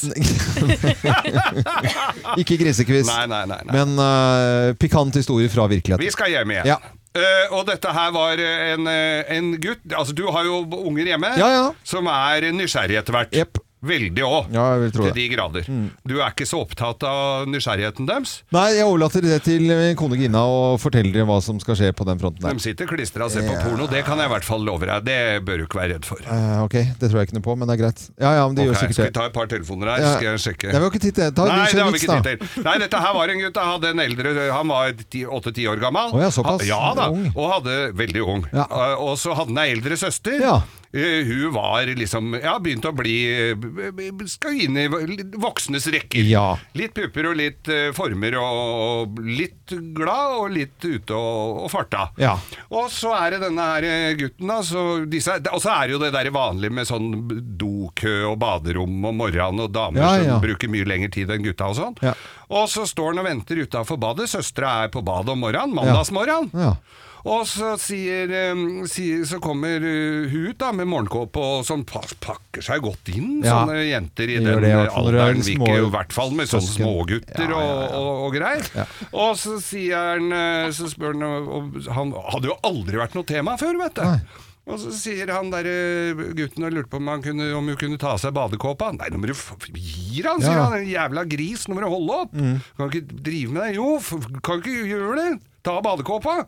ikke grisekviss,
Nei, nei, nei, nei.
men eh, pikant historie fra
Vi
virkeligheten.
skal hjem igjen.
Ja.
Eh, og dette her var eh, en, eh, en gutt Altså, du har jo unger hjemme
Ja, ja.
som er nysgjerrig etter hvert.
Jepp.
Veldig òg.
Ja, jeg vil tro
til
det. Mm.
de grader. Du er ikke så opptatt av nysgjerrigheten deres.
Nei, jeg overlater det til min kone Gina og forteller hva som skal skje på den fronten der.
De sitter klistra og ser på porno, det kan jeg i hvert fall love deg. Det bør du ikke være redd for.
Eh, ok, det tror jeg ikke noe på, men det er greit. Ja, ja, men de
Ok,
gjør
skal vi
sikkert det.
ta et par telefoner her,
Ja.
skal jeg sjekke.
Nei, vi har ikke tid til det. Ta
Nei, det har vi
vits, da.
ikke tid til. Nei, dette her var en gutt. Han hadde en eldre Han var ti- åtte-ti år gammel.
Å ja, såpass.
Ha- Ja da.
Ung.
Og hadde veldig ung.
Ja.
Eh, Og så hadde han ei eldre søster.
Ja.
Eh, Hun var liksom Ja, begynte å bli eh, b- b- Skal inn i voksnes rekker.
Ja.
Litt pupper og litt eh, former og og litt glad og litt ute og, og farta.
Ja.
Og så er det denne her eh, gutten, da. Så disse, og så er det jo det der vanlige med sånn dokø og baderom om morgenen, og damer
Ja, ja.
som bruker mye lengre tid enn gutta og sånn.
Ja.
Og så står han og venter utafor badet. Søstera er på badet om morgenen, mandagsmorgen.
Ja.
Og så, sier, eh, sier, så kommer eh, hun ut da med morgenkåpe og som pa- pakker seg godt inn,
Ja.
sånne jenter i
Gjør
den
det, i hvert fall når du er
alderen.
små
Virker jo i hvert fall med sånne
søsken. Ja,
smågutter
ja, ja.
Og, og, og greier. Og så sier han eh, Så spør han om- om- Han hadde jo aldri vært noe tema før, vet du. Og så sier han der eh, gutten og lurte på om, han kunne, om hun kunne ta av seg badekåpa. Nei, nå må du f- gir han, sier
Ja. Mm.
han. En jævla gris, nå må du holde opp. Kan du ikke drive med det. Jo, f- kan du ikke gjøre det. Ta av badekåpa.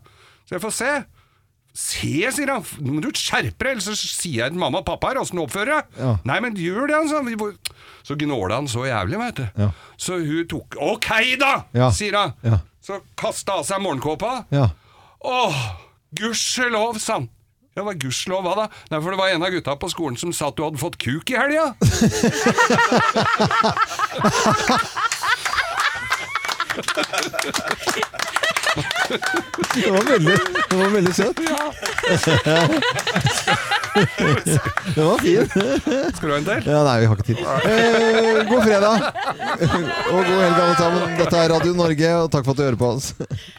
Så jeg får se. Se, sier han. Nå må du skjerpe deg, ellers så sier jeg til mamma og pappa her åssen du oppfører deg.
Ja.
Nei, men gjør det, han sa. Vi må- Så gnåla han så jævlig, veit du.
Ja.
Så hun tok OK, da,
Ja.
sier han.
Ja.
Så kasta av seg morgenkåpa.
Ja.
Åh, gudskjelov, sa han. Ja, hva gudskjelov hva da? Nei, for det var en av gutta på skolen som sa at du hadde fått kuk i helga.
Det var veldig, det var veldig søt. [LAUGHS] det var fin.
Skal du ha en del?
Ja, nei, vi har ikke tid. Eh, god fredag og god helg, alle sammen. Dette er Radio Norge, og takk for at du hører på oss.